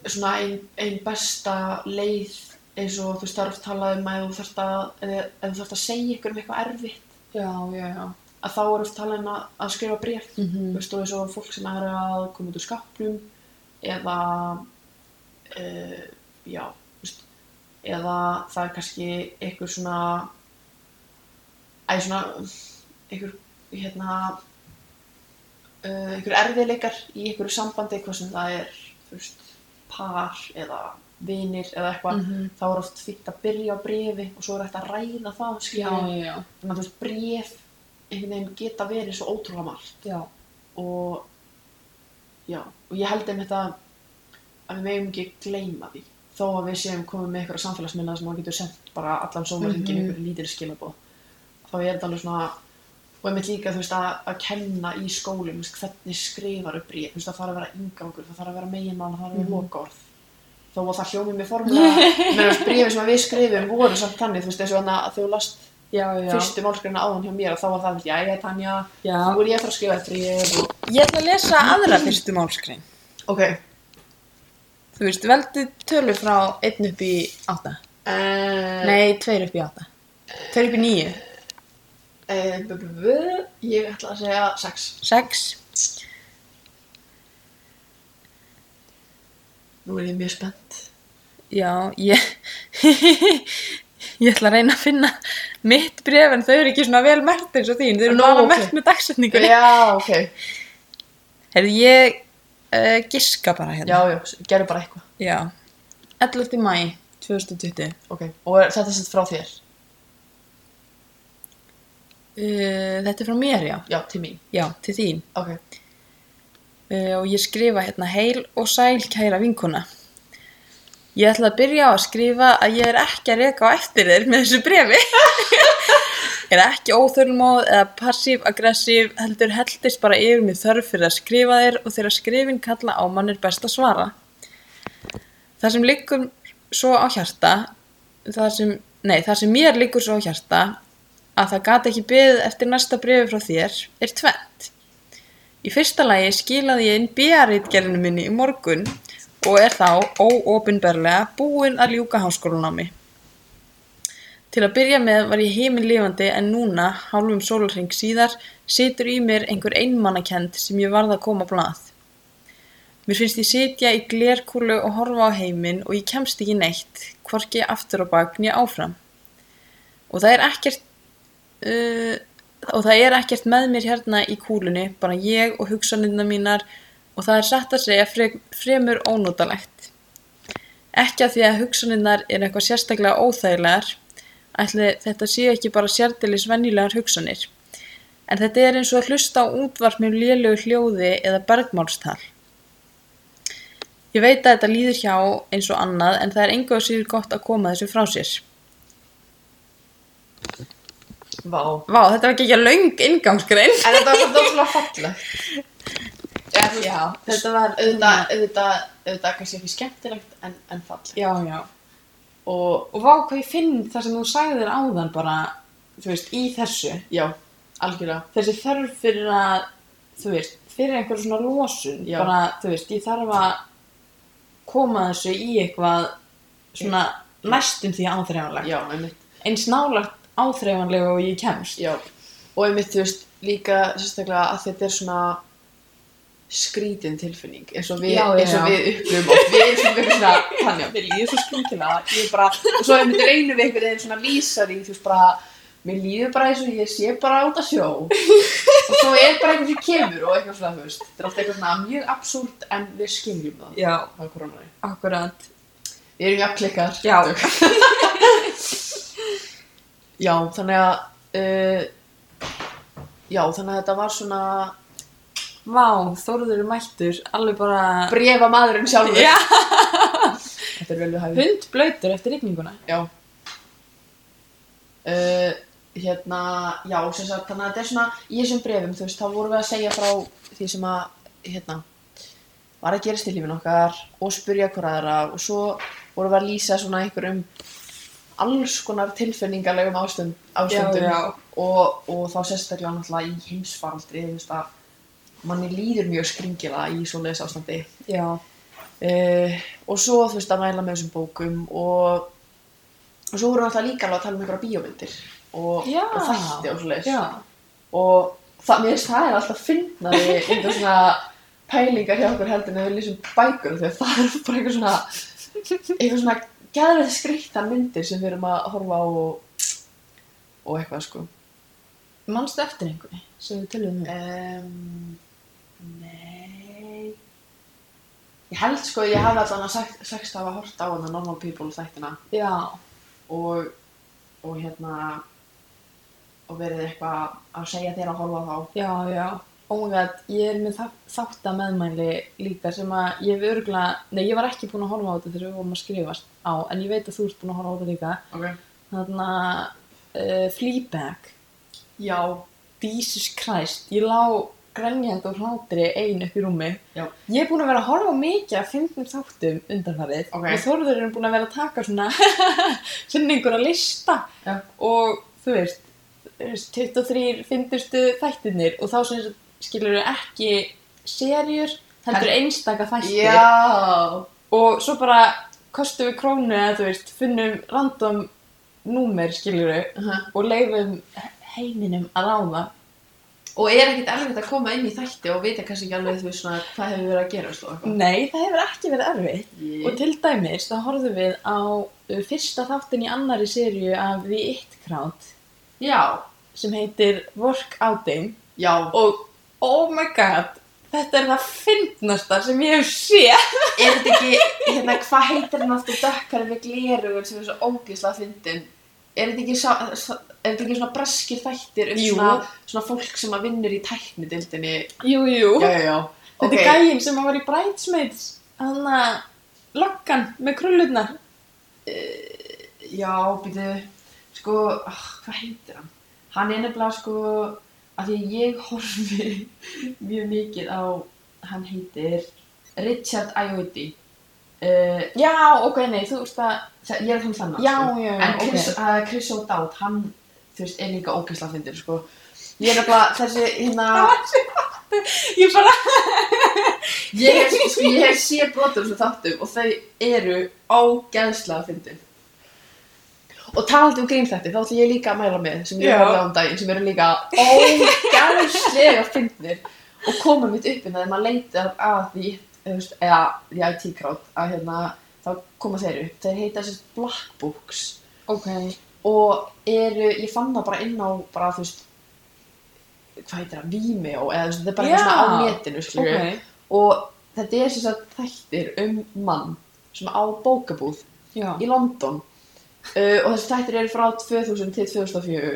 svona ein, ein besta leið eins og þú veist, það er oft talað um að ef þú þarft að, eða, ef þú þarft að segja ykkur um eitthvað erfitt,
já, já, já.
að þá er oft talað um að, að skrifa bréf.
Mm
Þú veist, og eins og fólk sem er að koma út úr skaplum eða, uh, já, þú veist, eða það er kannski einhver svona, æ, svona, einhver, hérna, uh, einhver erfiðleikar í einhverju sambandi, hvað sem það er, þú veist, par eða vinir eða eitthvað,
Mhm.
þá er oft fínt að byrja á brefi og svo er þetta að ræða það,
Já,
skiljum,
já, já.
þannig að þú veist, bref, einhvern veginn geta verið svo ótrúlega margt
Já,
og já, og ég held einmitt að að við megum ekki gleyma því þó að við séum komið með einhverja samfélagsminna sem maður getur sendt bara allan sómarhingin mm
Mhm.
-hmm. einhverju lítil skilabóð þá er þetta alveg svona og einmitt líka þú veist að, að kenna í skólum þú veist, hvernig skrifar upp bréf þú veist það þarf að vera ingangur, það þarf að vera meginmál það þarf að vera
Mhm.
lokaorð þó að það hljómi mér formulega bréfi sem að við skrifum voru samt þannig þú veist þessu þannig að þú last
já, já.
fyrstu málskrifna áðan hjá mér og þá var það, jæja Tanja,
já.
nú er ég að fara að skrifa eitt bréf og
Ég ætla að lesa aðra fyrstu málskrein.
Ok,
Þú veist, veldið tölu frá 1 upp í 8.
uh,
Nei, 2 upp í 8. 2 upp í 9.
uh, ég ætla að segja 6.
6.
Nú er ég mjög spennt.
Já, ég... ég ætla að reyna að finna mitt bref en þau eru ekki svona vel mert eins og þín. Þau eru
Nú,
bara
ok.
mert með dagsetningu.
Já, ok.
Herðu, ég uh, giska bara
Já,
hérna.
já, gerðu bara eitthvað.
Já. 11. mæ 2020.
Ok, og er, þetta er sett frá þér.
Uh, þetta er frá mér, já.
Já, til mín.
Já, til þín.
Ok.
Uh, og ég skrifa hérna heil og sæl kæra vinkuna. Ég ætla að byrja á að skrifa að ég er ekki að reka á eftir þér með þessu brefi. ég er ekki óþörnmóð eða passív-aggressív, heldur heldist bara yfir mér þörf fyrir að skrifa þér og þegar skrifin kalla á mann er best að svara. Það sem liggur svo á hjarta, það sem, nei, það sem mér liggur svo á hjarta, að það gat ekki beðið eftir næsta brefi frá þér, er tvent. Í fyrsta lagi skilaði ég inn BR-reitgerðinu minni í morgun og er þá óopinberlega búinn að ljúka háskólanámi. Til að byrja með var ég heiminlifandi en núna, hálfum sólarheng síðar, situr í mér einhver einmannakend sem ég varð að koma á blað. Mér finnst ég sitja í glerkúlu og horfa á heiminn og ég kemst ekki neitt, hvorki aftur á bak né áfram. Og það er ekkert uh, og það er ekkert með mér hérna í kúlunni, bara ég og hugsanirna mínar og það er satt að segja fre fremur ónótalegt. Ekki að því að hugsanirnar er eitthvað sérstaklega óþægilegar, ætli þetta séu ekki bara sérdilis venjulegar hugsanir. En þetta er eins og að hlusta á útvarp með lélögu hljóði eða bergmálstal. Ég veit að þetta líður hjá eins og annað en það er engu að síður gott að koma þessu frá sér.
Vá.
Vá, þetta var ekki ekki að löng ingangsgrein.
En þetta var svolítið ótrúlega fallegt. Já, Mm. þú veist,
þetta var
auðvitað, auðvitað, auðvitað kannski ekki skemmtilegt en, en fallegt.
Já, já.
Og,
Og vá hvað ég finn það sem þú sagðir áðan bara, þú veist, í þessu.
já, algjörlega.
Þessi þörf fyrir að, þú veist, fyrir einhver svona losun.
Já.
Bara, þú veist, ég þarf að koma þessu í eitthvað svona næstum því áþreifanlegt.
Já, einmitt.
Eins nálagt áþreifanlega og ég kemst.
Já, og einmitt, þú veist, líka sérstaklega að þetta er svona skrítin tilfinning, eins og við,
Já, já,
eins og
já.
við upplifum oft, við erum svona við erum svona, þannig að mér líður svo skringilega, ég er bara, og svo einmitt reynum við einhvern veginn svona lýsar í, þú veist, bara, mér líður bara eins og ég sé bara út að sjó, og svo er bara einhvern sem kemur og eitthvað svona, þú veist, þetta er alltaf eitthvað svona mjög absúrt en við skiljum það,
Já,
það er koronari.
akkurat.
Við erum jafnklikkar.
Já.
já, þannig að, uh, já, þannig að þetta var svona
Vá, Þóruður er mættur, alveg bara
brefa maðurinn sjálfur.
Já.
Þetta er vel við hæfið.
hundblöytur eftir rigninguna.
Já. Uh, hérna, já, sem sagt, þannig að þetta er svona, í þessum brefum, þú veist, þá vorum við að segja frá því sem að, hérna, var að gerast í lífin okkar og spurja hver aðra og svo vorum við að lýsa svona einhverjum alls konar tilfinningalegum ástund, ástundum Og, og þá sérstaklega náttúrulega í heimsfaraldri þú veist að manni líður mjög skringila í svoleiðis ástandi
já,
uh, og svo þú veist að mæla með þessum bókum og, og svo vorum við alltaf líka alveg að tala um einhverja bíómyndir og,
Já.
og þætti og svoleiðis
já,
og það, mér finnst það er alltaf fyndnaði einhver svona pælingar hjá okkur heldur en ef við lýsum bækur þegar það er bara einhver svona einhver svona gæðrið skreittar myndir sem við erum að horfa á og, og eitthvað sko
mannstu eftir einhverju sem við töluðum um
um, Nei Ég held sko, ég hafði allan að sagt, sagt að hafa hort á hana Normal People þættina
já,
og, og hérna og verið eitthvað að segja þér að horfa á þá
já, já oh my god, ég er með þa- þáttar meðmæli líka sem að ég hef örgulega, nei ég var ekki búin að horfa á þetta þegar við vorum að skrifast á en ég veit að þú ert búin að horfa á þetta líka
okay.
þarna uh, Fleabag
Já,
Jesus Christ, ég lá grenjandi og hlátri ein upp í rúmi.
Já.
Ég er búin að vera að horfa á mikið að fyndnum þáttum undanfarið
Ok.
og Þorður er búin að vera að taka svona svona einhverja lista
Já.
og þú veist, þú veist, 23 fyndustu þættirnir og þá sem skilur við ekki serjur, heldur einstaka þættir
já
og svo bara kostum við krónu eða þú veist, finnum random númer skilur við
Uh-huh.
og leifum heiminum að ráða
Og er ekkert erfitt að koma inn í þætti og vita kannski ekki alveg þú veist svona hvað hefur verið að gera og eitthvað
Nei, það hefur ekki verið erfitt. Og
Ég-
til dæmis, þá horfðum við á uh, fyrsta þáttin í annari sériu af The It Crowd
Já,
sem heitir Workouting
já,
og oh my god, þetta er það fyndnasta sem ég hef séð.
er þetta ekki, hérna, hvað heitir hann aftur dökkari með glerugur sem er svo ógislega fyndin? Er þetta ekki, sá- sá- er þetta ekki svona breskir þættir um
Jú.
svona, svona fólk sem að vinnur í tæknidildinni?
Jú, jú.
já, já.
Þetta er gæinn sem að var í Bridesmaids, hann að lokkan með krullurnar.
Eh, Já, býtu, sko, ah, hvað heitir hann? Hann er nefnilega sko, af því að ég horfi mjög mikið á, hann heitir Richard Ayoade. Uh,
Já, ok, nei, þú veist að...
ég er þannig þannig,
Já,
sko.
já, já,
En Chris,
ok.
uh, Chris O'Dowd, hann, þú veist, er líka ógeðslega fyndir, sko. Ég er nefnilega, þessi, hérna,
Ég bara...
ég hef, sko, ég hef sé brotur þessu þáttum og þau eru ógeðslega fyndir. Og talandi um grín þetta, þá ætla ég líka að mæla með, sem ég
Já.
hefði á um daginn, sem eru líka ógeðslega fyndir og koma mitt upp inn að þegar maður leitar að því, þú veist, eða, því að tíkrátt, að hérna, þá koma þeir upp. Þeir heita þessi Black Books.
Ok,
og eru, ég fann það bara inn á bara þú veist hvað heitir það, Vimeo eða þú veist, þetta er bara
Já.
eitthvað svona á netinu skilur
ok.
okay. og þetta er sem sagt þættir um mann sem á bókabúð
Já.
í London uh, og þessi þættir eru frá 2000 til 2004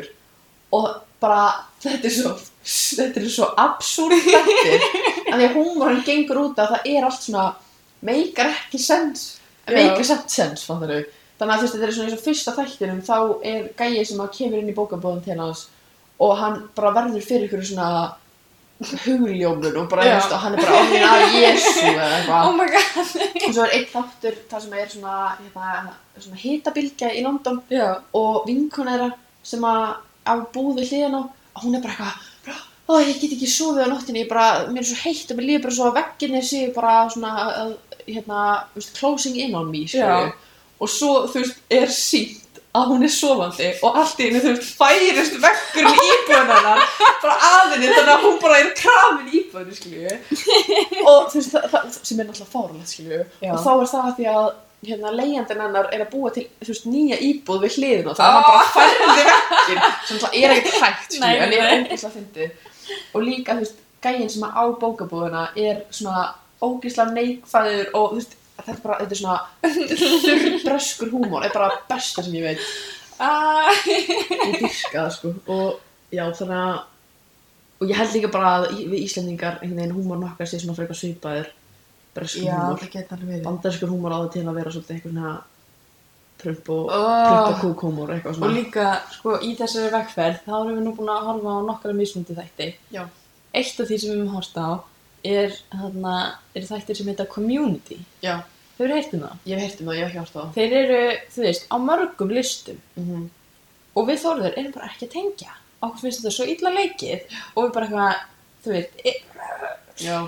og bara þetta er svo þetta er svo absúrt þættir af því að húmurinn gengur út að það er allt svona meikar ekki sens
Já.
meikar samt sens fattar þau þannig að þú veist þetta er svona eins og fyrsta þættinum þá er gæið sem að kemur inn í bókabóðum til hans og hann bara verður fyrir ykkur svona hugljómun og bara,
Já.
þú veist, og hann er bara orðin að Jésu eða eitthvað
Oh my god.
og svo er einn þáttur það sem er svona, hérna, svona hitabilgja í London
Já.
og vinkona þeirra sem að á búði hliðina og hún er bara eitthvað bara, Ó, ég get ekki sofið á nóttinni, ég bara, mér er svo heitt og mér líður bara svo að vegginni séu bara svona, uh, hérna, þú veist, closing in on me,
Já.
skilju. Og svo, þú veist, er sínt að hún er sofandi og allt í henni, þú veist, færist veggurinn íbúðanar bara aðinni þannig að hún bara er kramin íbúðinu, skilju. Og þú veist, það, það, sem er náttúrulega fáralegt, skilju.
Já.
Og þá er það að því að, hérna, leigjandinn hennar er að búa til, þú veist, nýja íbúð við hliðina, þannig að hann bara færði vekkir sem það er ekkert hægt skilju,
Ah. Nei,
en er
nei.
ógeðslega fyndið og líka þú veist, gæinn sem er á bókabúðuna er svona ógeðslega neikfæður og þú veist, þetta er bara, þetta er svona þurr bröskur húmór, er bara besta sem ég veit
Ah.
ég dyrka það sko og já þannig að og ég held líka bara að í- við Íslendingar einhvern veginn húmór nokkar sé svona frekar svipaður bröskur húmór,
geta alveg verið.
bandarskur húmór á það til að vera svolítið eitthvað svona trump og oh.
Oh.
kúkúmór eitthvað
Og
svona
líka, sko, í þessari vegferð, þá erum við nú búin að horfa á nokkara mismundi þætti.
Já.
Eitt af því sem við höfum horft á er, þarna, er þættir sem heita Community.
Já.
Þau eru heilt um það.
Ég hef heyrt um það, ég hef ekki hort á það.
Þeir eru, þú veist, á mörgum listum
Mm -hmm.
og við Þórður erum bara ekki að tengja. Okkur finnst þetta svo illa leikið og við bara eitthvað, þú veist, e-
Já.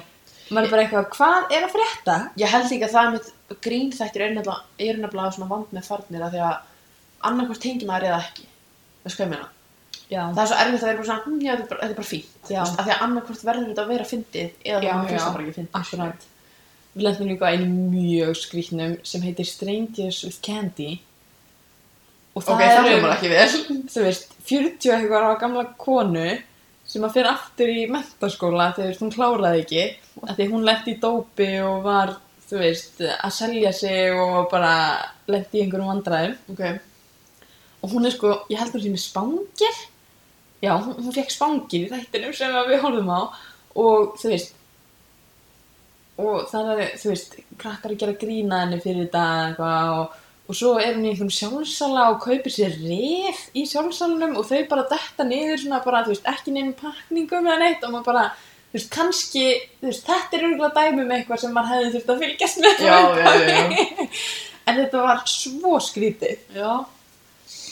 maður er bara eitthvað, hvað er að frétta?
Ég held líka að það með grínþættir er nefnilega, er nefnilega svona vand með farnir að því að annarkvort tengi maður eða ekki. Veistu hvað ég meina?
Já,
Það er svo erfitt að vera bara svona, hm, já, þetta er bara, þetta er bara fínt. þú
Já.
veist, Af því að annarkvort verður þetta að vera fyndið eða
Já,
það finnst
já.
það bara ekki fyndið.
akkurat. Við lentum líka á einu mjög skrýtnum sem heitir Strangers with Candy. Og
Ok, það hljómar ekki vel.
þú veist, 40 eitthvað á gamla konu sem að fyrir aftur í mentaskóla þegar hún kláraði ekki af því hún lenti í dópi og var þú veist, að selja sig og bara lenti í einhverjum vandræðum
Ok,
og hún er sko, ég held hún sem er spangir já, hún, hún fekk spangir í þættinum sem að við horfum á og þú veist og það er, þú veist, krakkar að gera grína henni fyrir þetta eitthvað og, og svo er hún í einhvern sjálfsala og kaupir sér rif í sjálfsalanum og þau bara detta niður svona bara, þú veist, ekki nefnum pakningum eða neitt og maður bara, þú veist, kannski þú veist, þetta er örgulega dæmi með eitthvað sem maður hefði þurft að fylgjast með
Já, já, já,
en þetta var svo skrítið
já.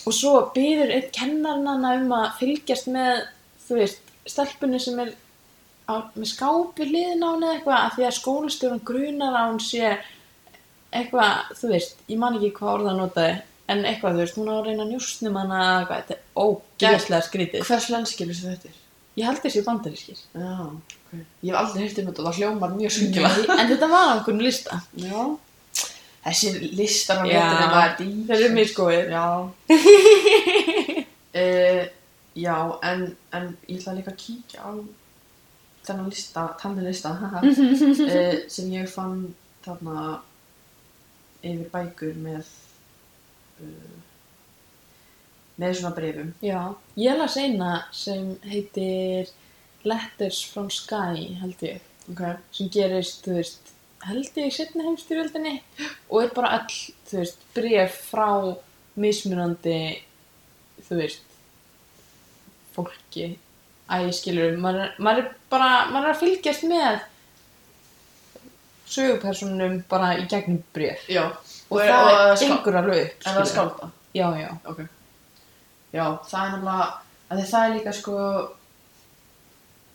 og svo byður einn kennarnana um að fylgjast með, þú veist, stelpunni sem er á, með skápi hliðin á henni eða eitthvað, að því að skólastjórun grunar að hún sé eitthvað, þú veist, ég man ekki hvað orða notaði, en eitthvað, þú veist, hún á að reyna að njústnum hana, eða eitthvað, þetta er ógeðslega skrítið.
Hvers lenskilur sem þetta er?
Ég held þessi bandarískir.
Já, ok. Ég hef aldrei heyrt um þetta og það hljómar mjög sungila.
en þetta var á einhvern lista.
Já. Þessi listar á
Já.
netinu maður dýr.
Þeir eru misgóðir.
Já. uh, já, en, en ég ætla líka að kíkja á þennan lista, þannig lista, uh, sem ég fann þarna yfir bækur með, uh, með svona brefum.
Já. Ég las eina sem heitir Letters from Sky, held ég.
Ok.
sem gerist, þú veist, held ég setna heimstyrjöldinni og er bara all, þú veist, bref frá mismunandi, þú veist, fólki. Æ, ég skilur, maður, er- maður er bara, maður er að fylgjast með sögupersonum bara í gegnum bref
Já.
og,
er-
það
það er skál-
gengur alveg upp,
En það er skálda.
Já, já,
ok já, það er náttúrulega af því það er líka sko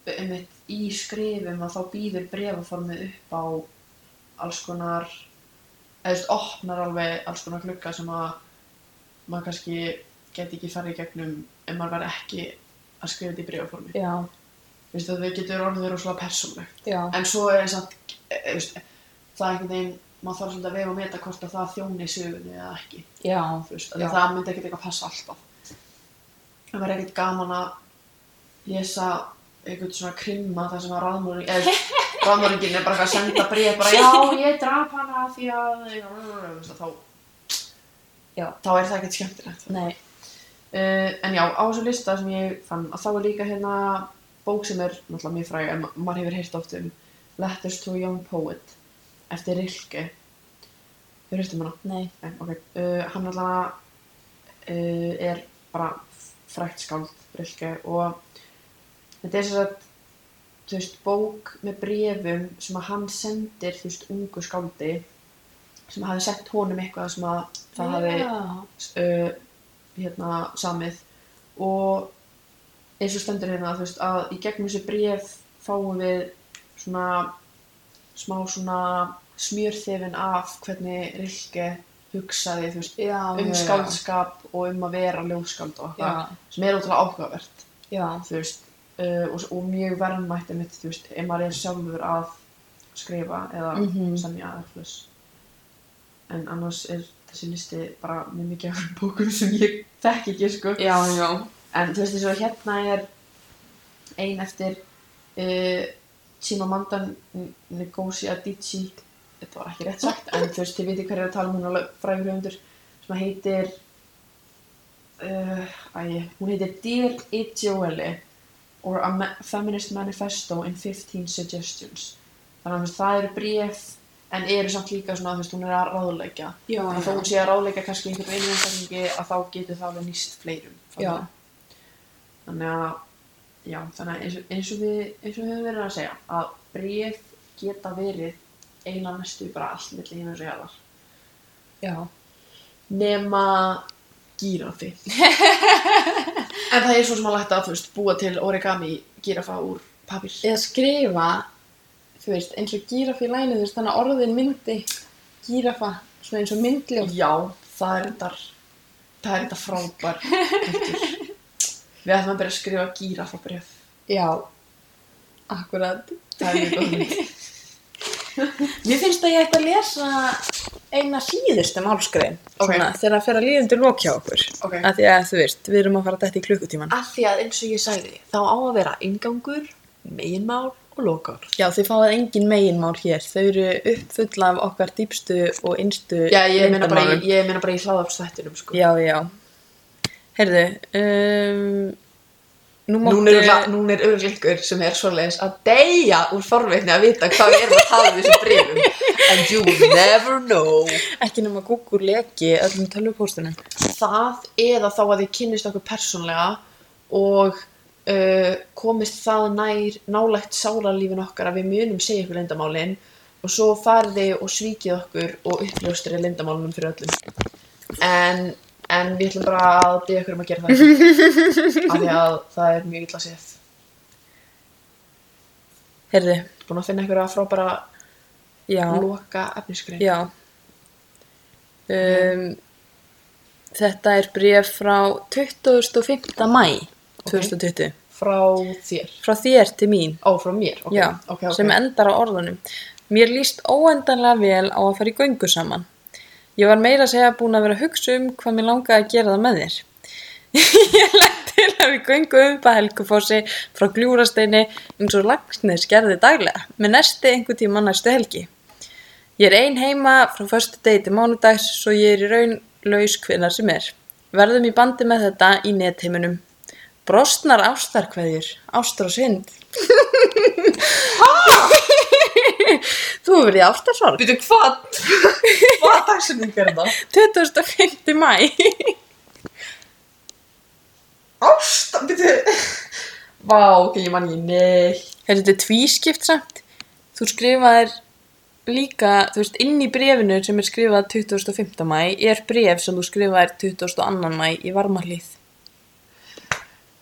einmitt, í skrifum að þá býður brefaformið upp á alls konar eða þú veist, opnar alveg alls konar glugga sem að maður kannski geti ekki farið í gegnum ef maður verði ekki að skrifa þetta í brefaformi
já,
Veistu, það getur orðið rosalega persónlegt
já,
en svo er e, eins að það er einhvern veginn maður þarf svolítið að vega og meta hvort að það þjóni sögunni eða ekki
já,
þú veist, af því
Já.
að það myndi ekkert eitthvað passa alltaf það var ekkert gaman að lesa einhvern svona krimma þar sem að ráðmóring eða ráðmóringin er bara eitthvað að senda bréf bara já ég draf hana af því að þú veist, að þá
Já.
þá er það ekkert skemmtilegt uh,
nei,
en já á þessu lista sem ég fann að þá er líka hérna bók sem er náttúrulega mjög fræg en ma- maður hefur heyrt oft um Letters to a Young Poet eftir Rilke hefur heyrt um hana?
nei,
Nei, ok. Uh, hann allavega uh, er bara frækt skáld, Rilke, og þetta er sem sagt, þú veist, bók með brefum sem að hann sendir, þú veist, ungu skáldi sem hafi sett honum eitthvað sem að það hafi
já,
uh, hérna, samið og eins og stendur hérna þú veist, að í gegnum þessi bréf fáum við svona smá svona smjörþefin af hvernig Rilke hugsaði þú veist,
já,
um
já, já.
skáldskap og um að vera ljóskáld og
já,
eitthvað sem er ótrúlega áhugavert
já,
þú veist, uh, og, og mjög verðmætt einmitt, þú veist, ef maður er sjálfur að skrifa eða
Mhm.
semja eða plus en annars er þessi listi bara mjög mikið af bókum sem ég þekki ekki sko
já, já,
en þú veist, eins og hérna er ein eftir uh, Chimamanda Ngozi Adichie þetta var ekki rétt sagt, en þú veist, þið viti hver er að tala um hún alveg frægur höfundur sem heitir uh, æ, hún heitir Dear Idioeli or a Ma- feminist manifesto in 15 suggestions þannig að þú veist, það eru bréf en eru samt líka svona, þú veist, hún er að ráðleggja
já,
þannig að þó
já.
hún sé að ráðleika kannski einhvern einu einstaklingi að þá getur það alveg nýst fleirum
Já.
Þannig- þannig að já, þannig að eins og, eins og við eins og við höfum verið að segja að bréf geta verið eiginlega næstu bara allt milli himins og jarðar
Já.
nema gírafi en það er svo sem að lætta að þú veist búa til origami gírafa úr papir
Eða skrifa, þú veist, eins og gírafa í læni, þú veist, þannig að orðin myndi gírafa, svona eins og myndljóð.
já, það er þetta það er þetta frábær punktur. við ætlum að byrja að skrifa gírafa bref
Já, akkurat.
það er mjög góð hugmynd.
Mér finnst að ég ætti að lesa eina síðustu málskrein
Ok.
svona, þegar það fer að líðundu lokja okkur
Ok.
af því að þú veist, við erum að fara þetta í klukkutíman
af því að eins og ég sagði þá á að vera ingangur, meginmál og lokar
Já, þið fáið engin meginmál hér þau eru uppfull af okkar dýpstu og innstu
já, ég meina bara,
leyndarmálum.
í- ég meina bara í hláðafstættinum sko.
Já, já Heyrðu um, Nú
Nún er,
máttu
örugglega- núna er örugglega ykkur sem er svoleiðis að deyja úr forveitni að vita hvað við erum að tala um í þessum brefum. And you will never know.
ekki nema Google leki öllum tölvupóstunum
Það eða þá að þið kynnist okkur persónlega og uh, komist það nær nálægt sálarlífin okkar að við munum segja ykkur lindamálin og svo farið þið og svíkið okkur og uppljóstrið lindamálunum fyrir öllum. En, en við ætlum bara að byggja ykkur um að gera það. Af því að það er mjög illa séð.
Heyrðu,
Búin að finna ykkur að frábæra
já
loka efnisgrein
Já. Um, þetta er bréf frá 25. mæ 2020.
frá þér
Frá þér til mín.
ó, frá mér, ok,
Já,
ok, ok
sem endar á orðunum. Mér líst óendanlega vel á að fara í göngu saman. Ég var meira að segja búin að vera að hugsa um hvað mér langaði að gera það með þér. Ég legg til að við göngum upp að Helgufossi frá Gljúrasteini eins og Lagsnes gerði daglega með næsti einhver tíma næstu helgi. Ég er ein heima frá förstu degi til mánudags svo ég er í raun laus hvenar sem er. Verðum í bandi með þetta í netheiminum. Brostnar ástarkveðjur, ástar og synd. Þú hefur verið ástarsorg.
Býtu, hvað? Hvað dagsetning er það?
25. mæ.
Ásta, býtu Vá, ok, ég man ekki neitt
Er þetta tvískipt samt? Þú skrifaðir líka, þú veist, inn í brefinu sem er skrifað 25. mæ er bref sem þú skrifaðir 22. mæ í varmahlið.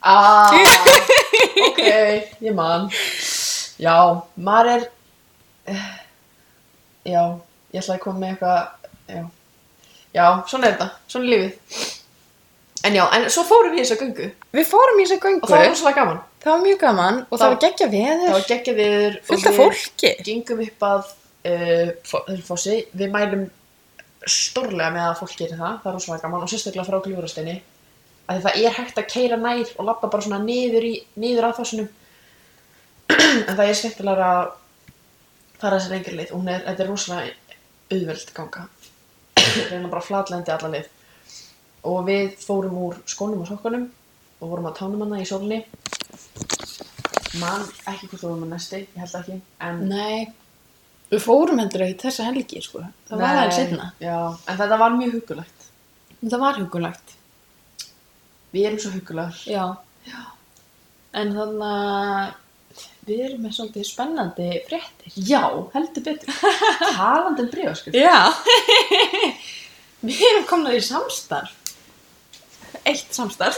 Ah, ok, ég man Já, maður er eh, Já, ég ætla að koma með eitthvað Já, já svona er þetta, svona er lífið En já, en svo fórum við í þessa göngu
Við fórum í þessa
og
göngu.
það var rosalega gaman
það var mjög gaman og það,
Það-
var geggja veður.
Það var geggjað viður og
fullt af
við-
fólki.
gengum upp að uh, þessu fósi, við mælum stórlega með að fólk gerir það, það er rosalega gaman og sérstaklega frá gljúrasteini að það er hægt að keira nær og labba bara svona niður, í, niður að fósinum en það er skemmtilega að fara þessi lengri leið og hún er, þetta er rosalega auðveld ganga reyna bara flatlendi alla leið og við fórum úr skónum og sokkunum og vorum að tánum hana í sólinni man ekki hvort þú vorum að næsti, ég held ekki en
Nei, við fórum heldur ekki þessa helgi, sko. Það var
Nei,
aðeins einna.
Já, en þetta var mjög hugulegt.
Það var hugulegt.
Við erum svo hugulegar.
Já. En þannig að við erum með svolítið spennandi fréttir.
Já, heldur betur. Talandi um bríðaskrift.
Já. við erum komin í samstarf. Eitt samstarf.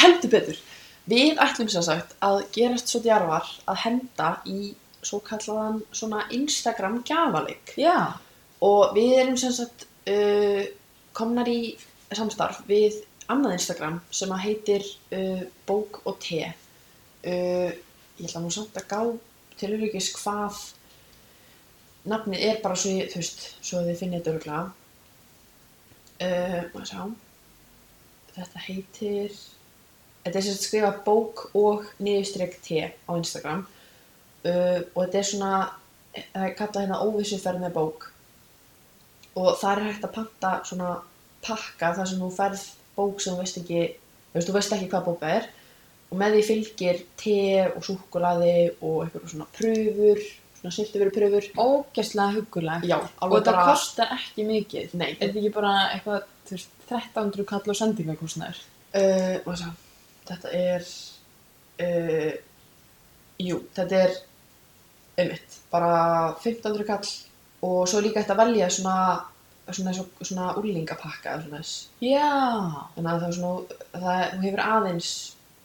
Heldur betur. Við ætlum sér sagt að gerast svo djarfar að henda í svo kallaðan svona Instagram gjafaleik.
Já.
Og við erum sem sagt uh, komnar í samstarf við annað Instagram sem að heitir uh, Bók og Te. Uh, ég ætla nú samt að gá til öryggis hvað nafnið er bara svo, ég- þú veist, svo að þið finnið þetta örugglega. Uh, maður sjá. Þetta heitir, þetta er sem sagt skrifa bók og niðurstrykk T á Instagram. Uh, og þetta er svona, það er kallað hérna óvissuferð með bók og það er hægt að panta svona pakka þar sem þú ferð bók sem þú veist ekki, þú veist, þú veist ekki hvað bóka er og með því fylgir te og súkkulaði og eitthvað svona pröfur, svona siltuveru pröfur
Ógæslega hugulegt.
Já,
Og
alveg
þetta
bara
kostar ekki mikið.
Nei,
Er þetta ekki bara eitthvað, þú veist, 1300 kall og sendingakostnaður?
uh, maður sá, þetta er uh, Jú, þetta er einmitt, bara 1500 kall og svo er líka eftir að velja svona, svona, svona, svona úlingapakka eða svona þess.
Já,
Þannig að það, er svona, það þú hefur aðeins,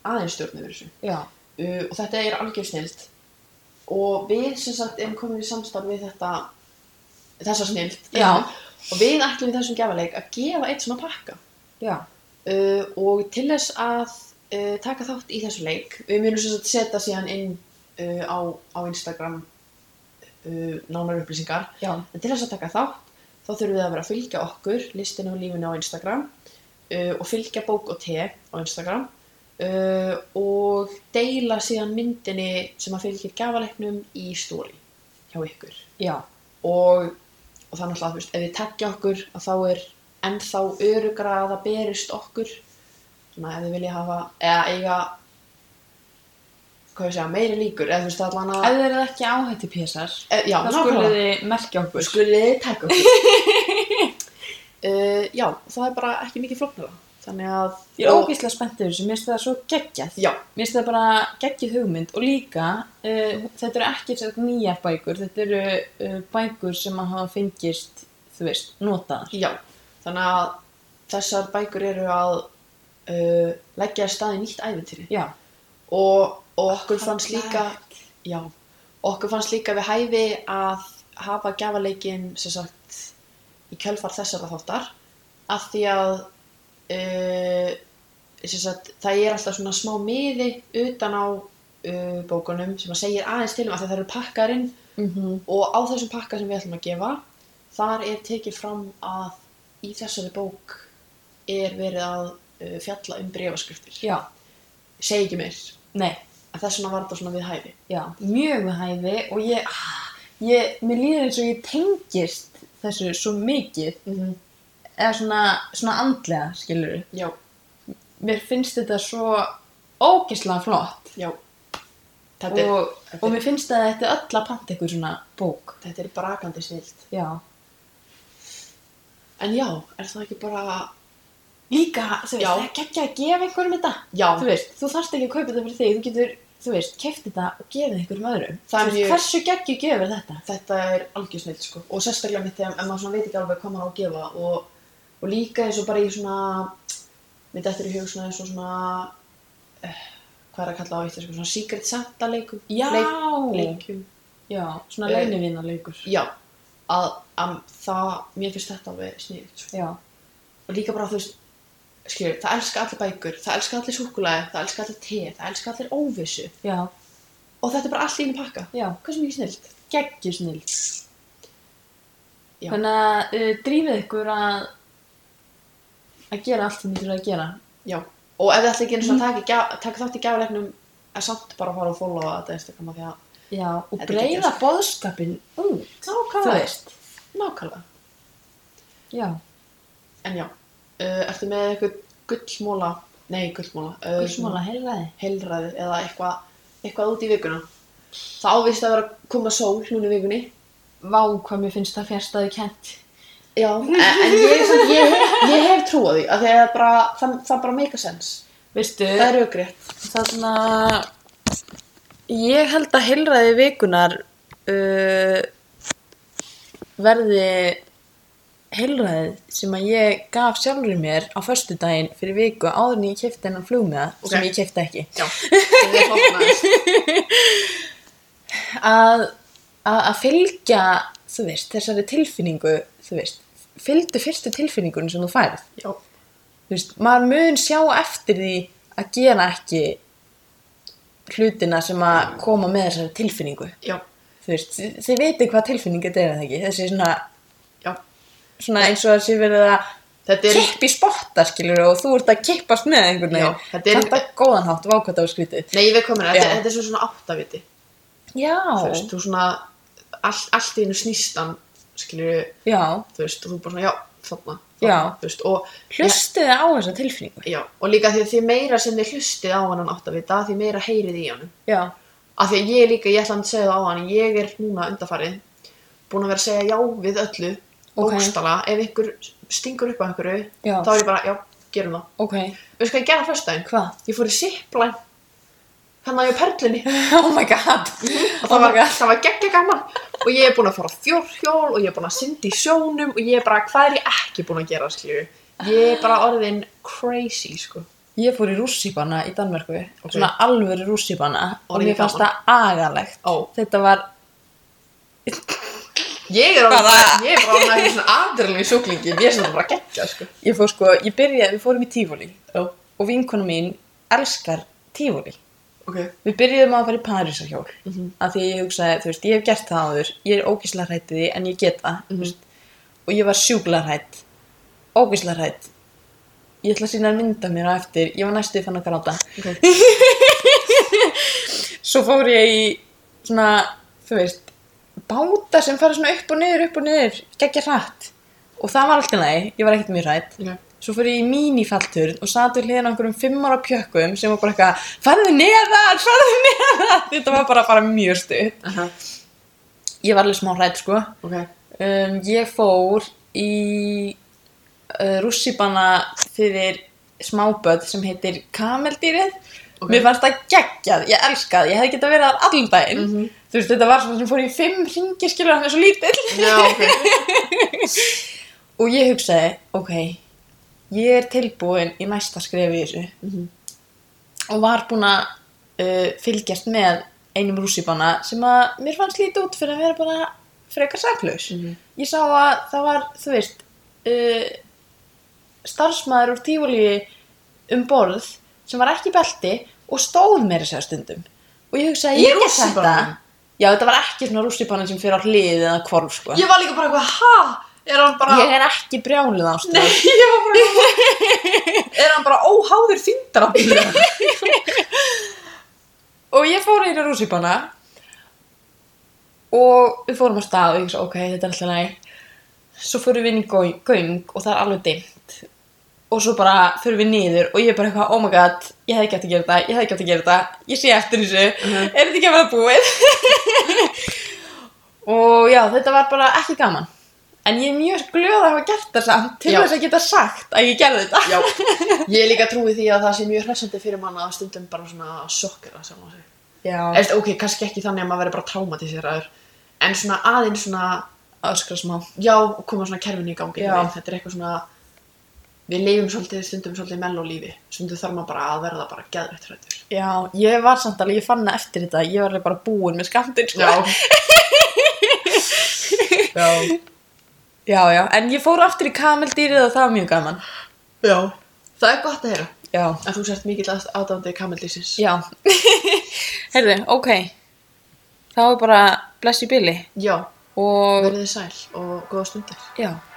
aðeins stjórn yfir þessu.
já,
Uh, og þetta er algjör snilt. Og við sem sagt erum komin í samstarf við þetta, þessa snilt.
já,
Og við ætlum í þessum gefaleik að gefa eitt svona pakka.
já,
Uh, og til þess að uh, taka þátt í þessu leik, við munum sem sagt setja síðan inn uh, á, á Instagram uh, nánar upplýsingar.
já,
En til þess að taka þátt, þá þurfum við að vera að fylgja okkur, listinu og lífinu á Instagram uh, og fylgja bók og te á Instagram uh, og deila síðan myndinni sem að fylgir gafaleiknum í stóri hjá ykkur
já,
og, og það er náttúrulega, þú veist, ef við taggja okkur að þá er ennþá örugra að það berist okkur þannig að ef þið vilja hafa, eða eiga hvað ég segja, meiri líkur eða þú veist, það er allan
Ef
að
þið eruð ekki áhætti pésar,
e, já,
þá
nákvæmlega.
skulið þið merkja okkur.
Skulið þið taka okkur. uh, já, það er bara ekki mikið flóknara. Þannig að...
Ég er
og-
ógeðslega spenntið þessu, mér finnst það svo geggjað.
Já,
Mér finnst það bara geggjað hugmynd og líka, uh, þetta eru ekki sér nýja bækur, þetta eru uh, bækur sem að hafa fengist, þú veist, notaðar.
já. Þannig að þessar bækur eru að uh, leggja af stað í nýtt æfintýri.
Já,
Og, og okkur fannst líka... Já, okkur fannst líka við hæfi að hafa gafaleikinn, sem sagt, í kjölfar þessara þáttar. Af því að... Uh, sem sagt, það er alltaf svona smá miði utan á uh, bókunum sem að segir aðeins til um að það eru pakkar inn
mm
og á þessum pakka sem við ætlum að gefa þar er tekið fram að í þessari bók er verið að uh, fjalla um brefaskriftir
já,
segi ekki meir,
nei,
en þess vegna var þetta svona við hæfi
já, mjög við hæfi og ég, ah, ég, mér líður eins og ég tengist þessu svo mikið,
mm -hmm.
eða svona, svona andlega, skilur við.
já,
Mér finnst þetta svo ógeðslega flott
já þetta, er,
og,
þetta,
og
er,
mér finnst að þetta er öll að panta ykkur svona bók.
þetta er brakandi snilt
Já.
en já, er það ekki bara
Líka, þú veist,
Já.
það er geggja að gefa einhverjum þetta.
já,
Þú veist, þú þarft ekki að kaupa þetta fyrir þig, þú getur, þú veist, keift þetta og gefið einhverjum öðrum.
Það er
Þú veist,
mjög-
Hversu geggju gefur þetta?
þetta er algjör snill sko. og sérstaklega mitt þegar ef maður svona veit ekki alveg hvað maður á að gefa og, og líka eins og bara í svona mitt eftir í hug svona eins og svona uh, hvað er að kalla á eitt svona secret santa leikum
Já,
leik, leikum
já, svona
Eh,
leynivina leikur.
já að, að það mér finnst þetta alveg snill sko.
Já,
og líka bara þú veist skilur, það elska allir bækur, það elska allir súkulæði það elska allir te, það elska allir óvissu
já,
og þetta er bara allt í einu pakka
já,
hvað sem ekki snill
geggju snill.
Já.
Þannig að uh, drífið ykkur að, að gera allt sem þið þurfa að gera.
Já, og ef þið ætla ekki einu svona að taka, gjá- taka þátt í gjáleiknum að samt bara fara og followa þetta Instagram af því að
Já, og
Þetta er
breyða
geggjað.
boðskapin út, þú
Nákvæmlega.
veist. Um,
nákvæmlega.
Já,
En já, uh, ertu með eitthvað gullmóla, nei gullmóla, uh,
guðsmála, heyrðaði.
heilræði eða eitthvað, eitthvað út í vikuna. Það ávist að vera að koma sól núna í vikunni.
Vá, hvað mér finnst það fjarstæðu kent.
Já, en, en ég, er samt- ég, hef, ég hef trú á því að því að bara, það, það bara make a sense.
Veistu,
Það er augrétt.
Þannig að ég held að heilræði vikunar uh, verði heilræðið sem að ég gaf sjálfur mér á föstudaginn fyrir viku áður en ég kefti hennan flugmiða
Ok.
sem ég kefti ekki
Já, það er fólknaðist.
að, að, að fylgja þú veist, þessari tilfinningu þú veist, fylgdu fyrstu tilfinningun sem þú færð
Já,
þú veist, maður mun sjá eftir því að gera ekki hlutina sem að koma með þessari tilfinningu
já,
þú veist, þið- þið veitir hvað tilfinning þetta er er það ekki, þessi svona,
já.
svona eins og þessi verið að
Þetta er,
kippa í spotta, skilur, og þú ert að kippast með einhvern veginn,
Já, þetta
þetta
er-
er góðan hátt, vákvæmt á skrítið.
nei ég veit hvað mér, þetta,
Já.
þetta er svo svona áttaviti.
Já,
þú veist, þú svona all, allt í einu snýstan skilur,
já,
þú veist, og þú bara svona, já, þarna,
Já.
þarna þú veist, og,
hlustið á þessa tilfinningu.
já, og líka því að því meira sem þið hlustið á hann átt að vita, því meira heyrið í hann
Já,
af því að ég líka, ég ætla að segja það á hann ég er núna undarfarið búin að vera að segja já við öllu
Ok.
bókstala, ef einhver stingur upp á einhverju,
Já.
þá er ég bara, já, gerum það
ok,
veist hvað ég gera fyrst daginn?
hvað?
Ég fór í Zipline hann var ég á hérna perlunni
oh my god
og
oh my
það var,
god
það var geggja gaman og ég er búin að fara á fjórhjól og ég er búin að synda í sjónum og ég er bara, hvað er ég ekki búin að gera, skilju ég er bara orðin crazy, sko
Ég fór í rússipanna í Danmörku,
Ok.
svona alvöru rússipanna og
Orðið
mér fannst
gaman.
það agalegt.
Ó.
Þetta var,
ég er orðin,
Bara-
ég er bara orðin ekki svona aðrölu í sjúklingi, ég er svona bara geggja, sko
ég fór sko, ég byrjaði, við fórum í tífóli
já,
og vinkonu mín elskar tífóli.
ok,
Við byrjuðum á að fara í Parísarhjól mm
Mhm.
af því að ég hugsaði, þú veist, ég hef gert það áður, ég er ógíslega hrættið því en ég get það,
Mhm.
þú veist, og ég var sjúklega hrætt, ógíslega hrætt. Ég ætla að sína að mynda mér á eftir, ég var næstuð fann að gráta.
ok
svo fór ég í svona, þú veist, báta sem fara svona upp og niður, upp og niður, geggja hratt. Og það var alltaf næg, ég var ekkert mjög hrætt.
Nei.
Svo fór ég í mínifallturn og satt við hliðin á einhverjum fimm ára pjökkum sem var bara eitthvað, farðu neðar, farðu neðar. Þetta var bara, bara mjög stutt.
Aha,
Ég var alveg smá hrætt, sko.
ok,
Um, ég fór í uh, rússipanna fyrir smáböð sem heitir kameldýrið.
Ok.
Mér fannst það geggjað, ég elskað, ég hefði getað verið þar allan daginn. Þú veist, þetta var svona sem fór í fimm ringi, skilur hann er svo lítill.
já, ok
Og ég hugsaði, ok, ég er tilbúin í næsta skrefi í þessu.
Mhm.
Og var búin að uh, fylgjast með einum rússipanna sem að mér fannst lítið út fyrir að vera bara frekar saklaus.
Mhm.
Ég sá að það var, þú veist, uh, starfsmæður úr tífólíu um borð sem var ekki í belti og stóð meira sér stundum. Og ég hugsaði,
Í
ég get
rússíbananum?
þetta. Já, þetta var ekki svona rússipanna sem fyrir á hlið eða kvorf, sko.
ég var líka bara eitthvað, ha, er hann bara
Ég er ekki brjálið ástu.
Nei, ég var bara Er hann bara óháður þyndar
Og ég fór í rússipanna og við fórum á stað og ég svo, ok, þetta er alltaf næg. Svo fórum við inn í gau- göng og það er alveg dimmt. Og svo bara förum við niður og ég er bara eitthvað, oh my god, ég hefði gett að gera þetta, ég hefði gett að gera þetta, ég sé eftir þessu, er þetta ekki að vera búið? og já, þetta var bara ekki gaman. En ég er mjög glöð að hafa gert það samt til
Já.
þess að geta sagt að ég gerði þetta.
Já, ég líka trúi því að það sé mjög hressandi fyrir manna að stundum bara svona sjokkera saman sig.
Já,
Eftir, ok, kannski ekki þannig að maður verður bara traumatiseraður, en svona aðeins svona,
öskra smá.
já, koma svona kerfinu í gangi.
Já.
Þetta er eitthvað svona, við lifum svolítið stundum svolítið melló lífi, stundum þarf maður bara að verða bara geðveitt hrættur.
Já, ég var samt alveg, ég fann það eftir þetta, ég var alveg bara búin með skamtinn, sko.
já,
já, já, en ég fór aftur í kameldýrið og það var mjög gaman.
já. Það er gott að heyra,
Já,
að þú sért mikill aðdáðandi kamillísins.
já. Herðu, ok, þá er bara bless í billi
Já,
og,
verðið sæl og góða stundir.
já.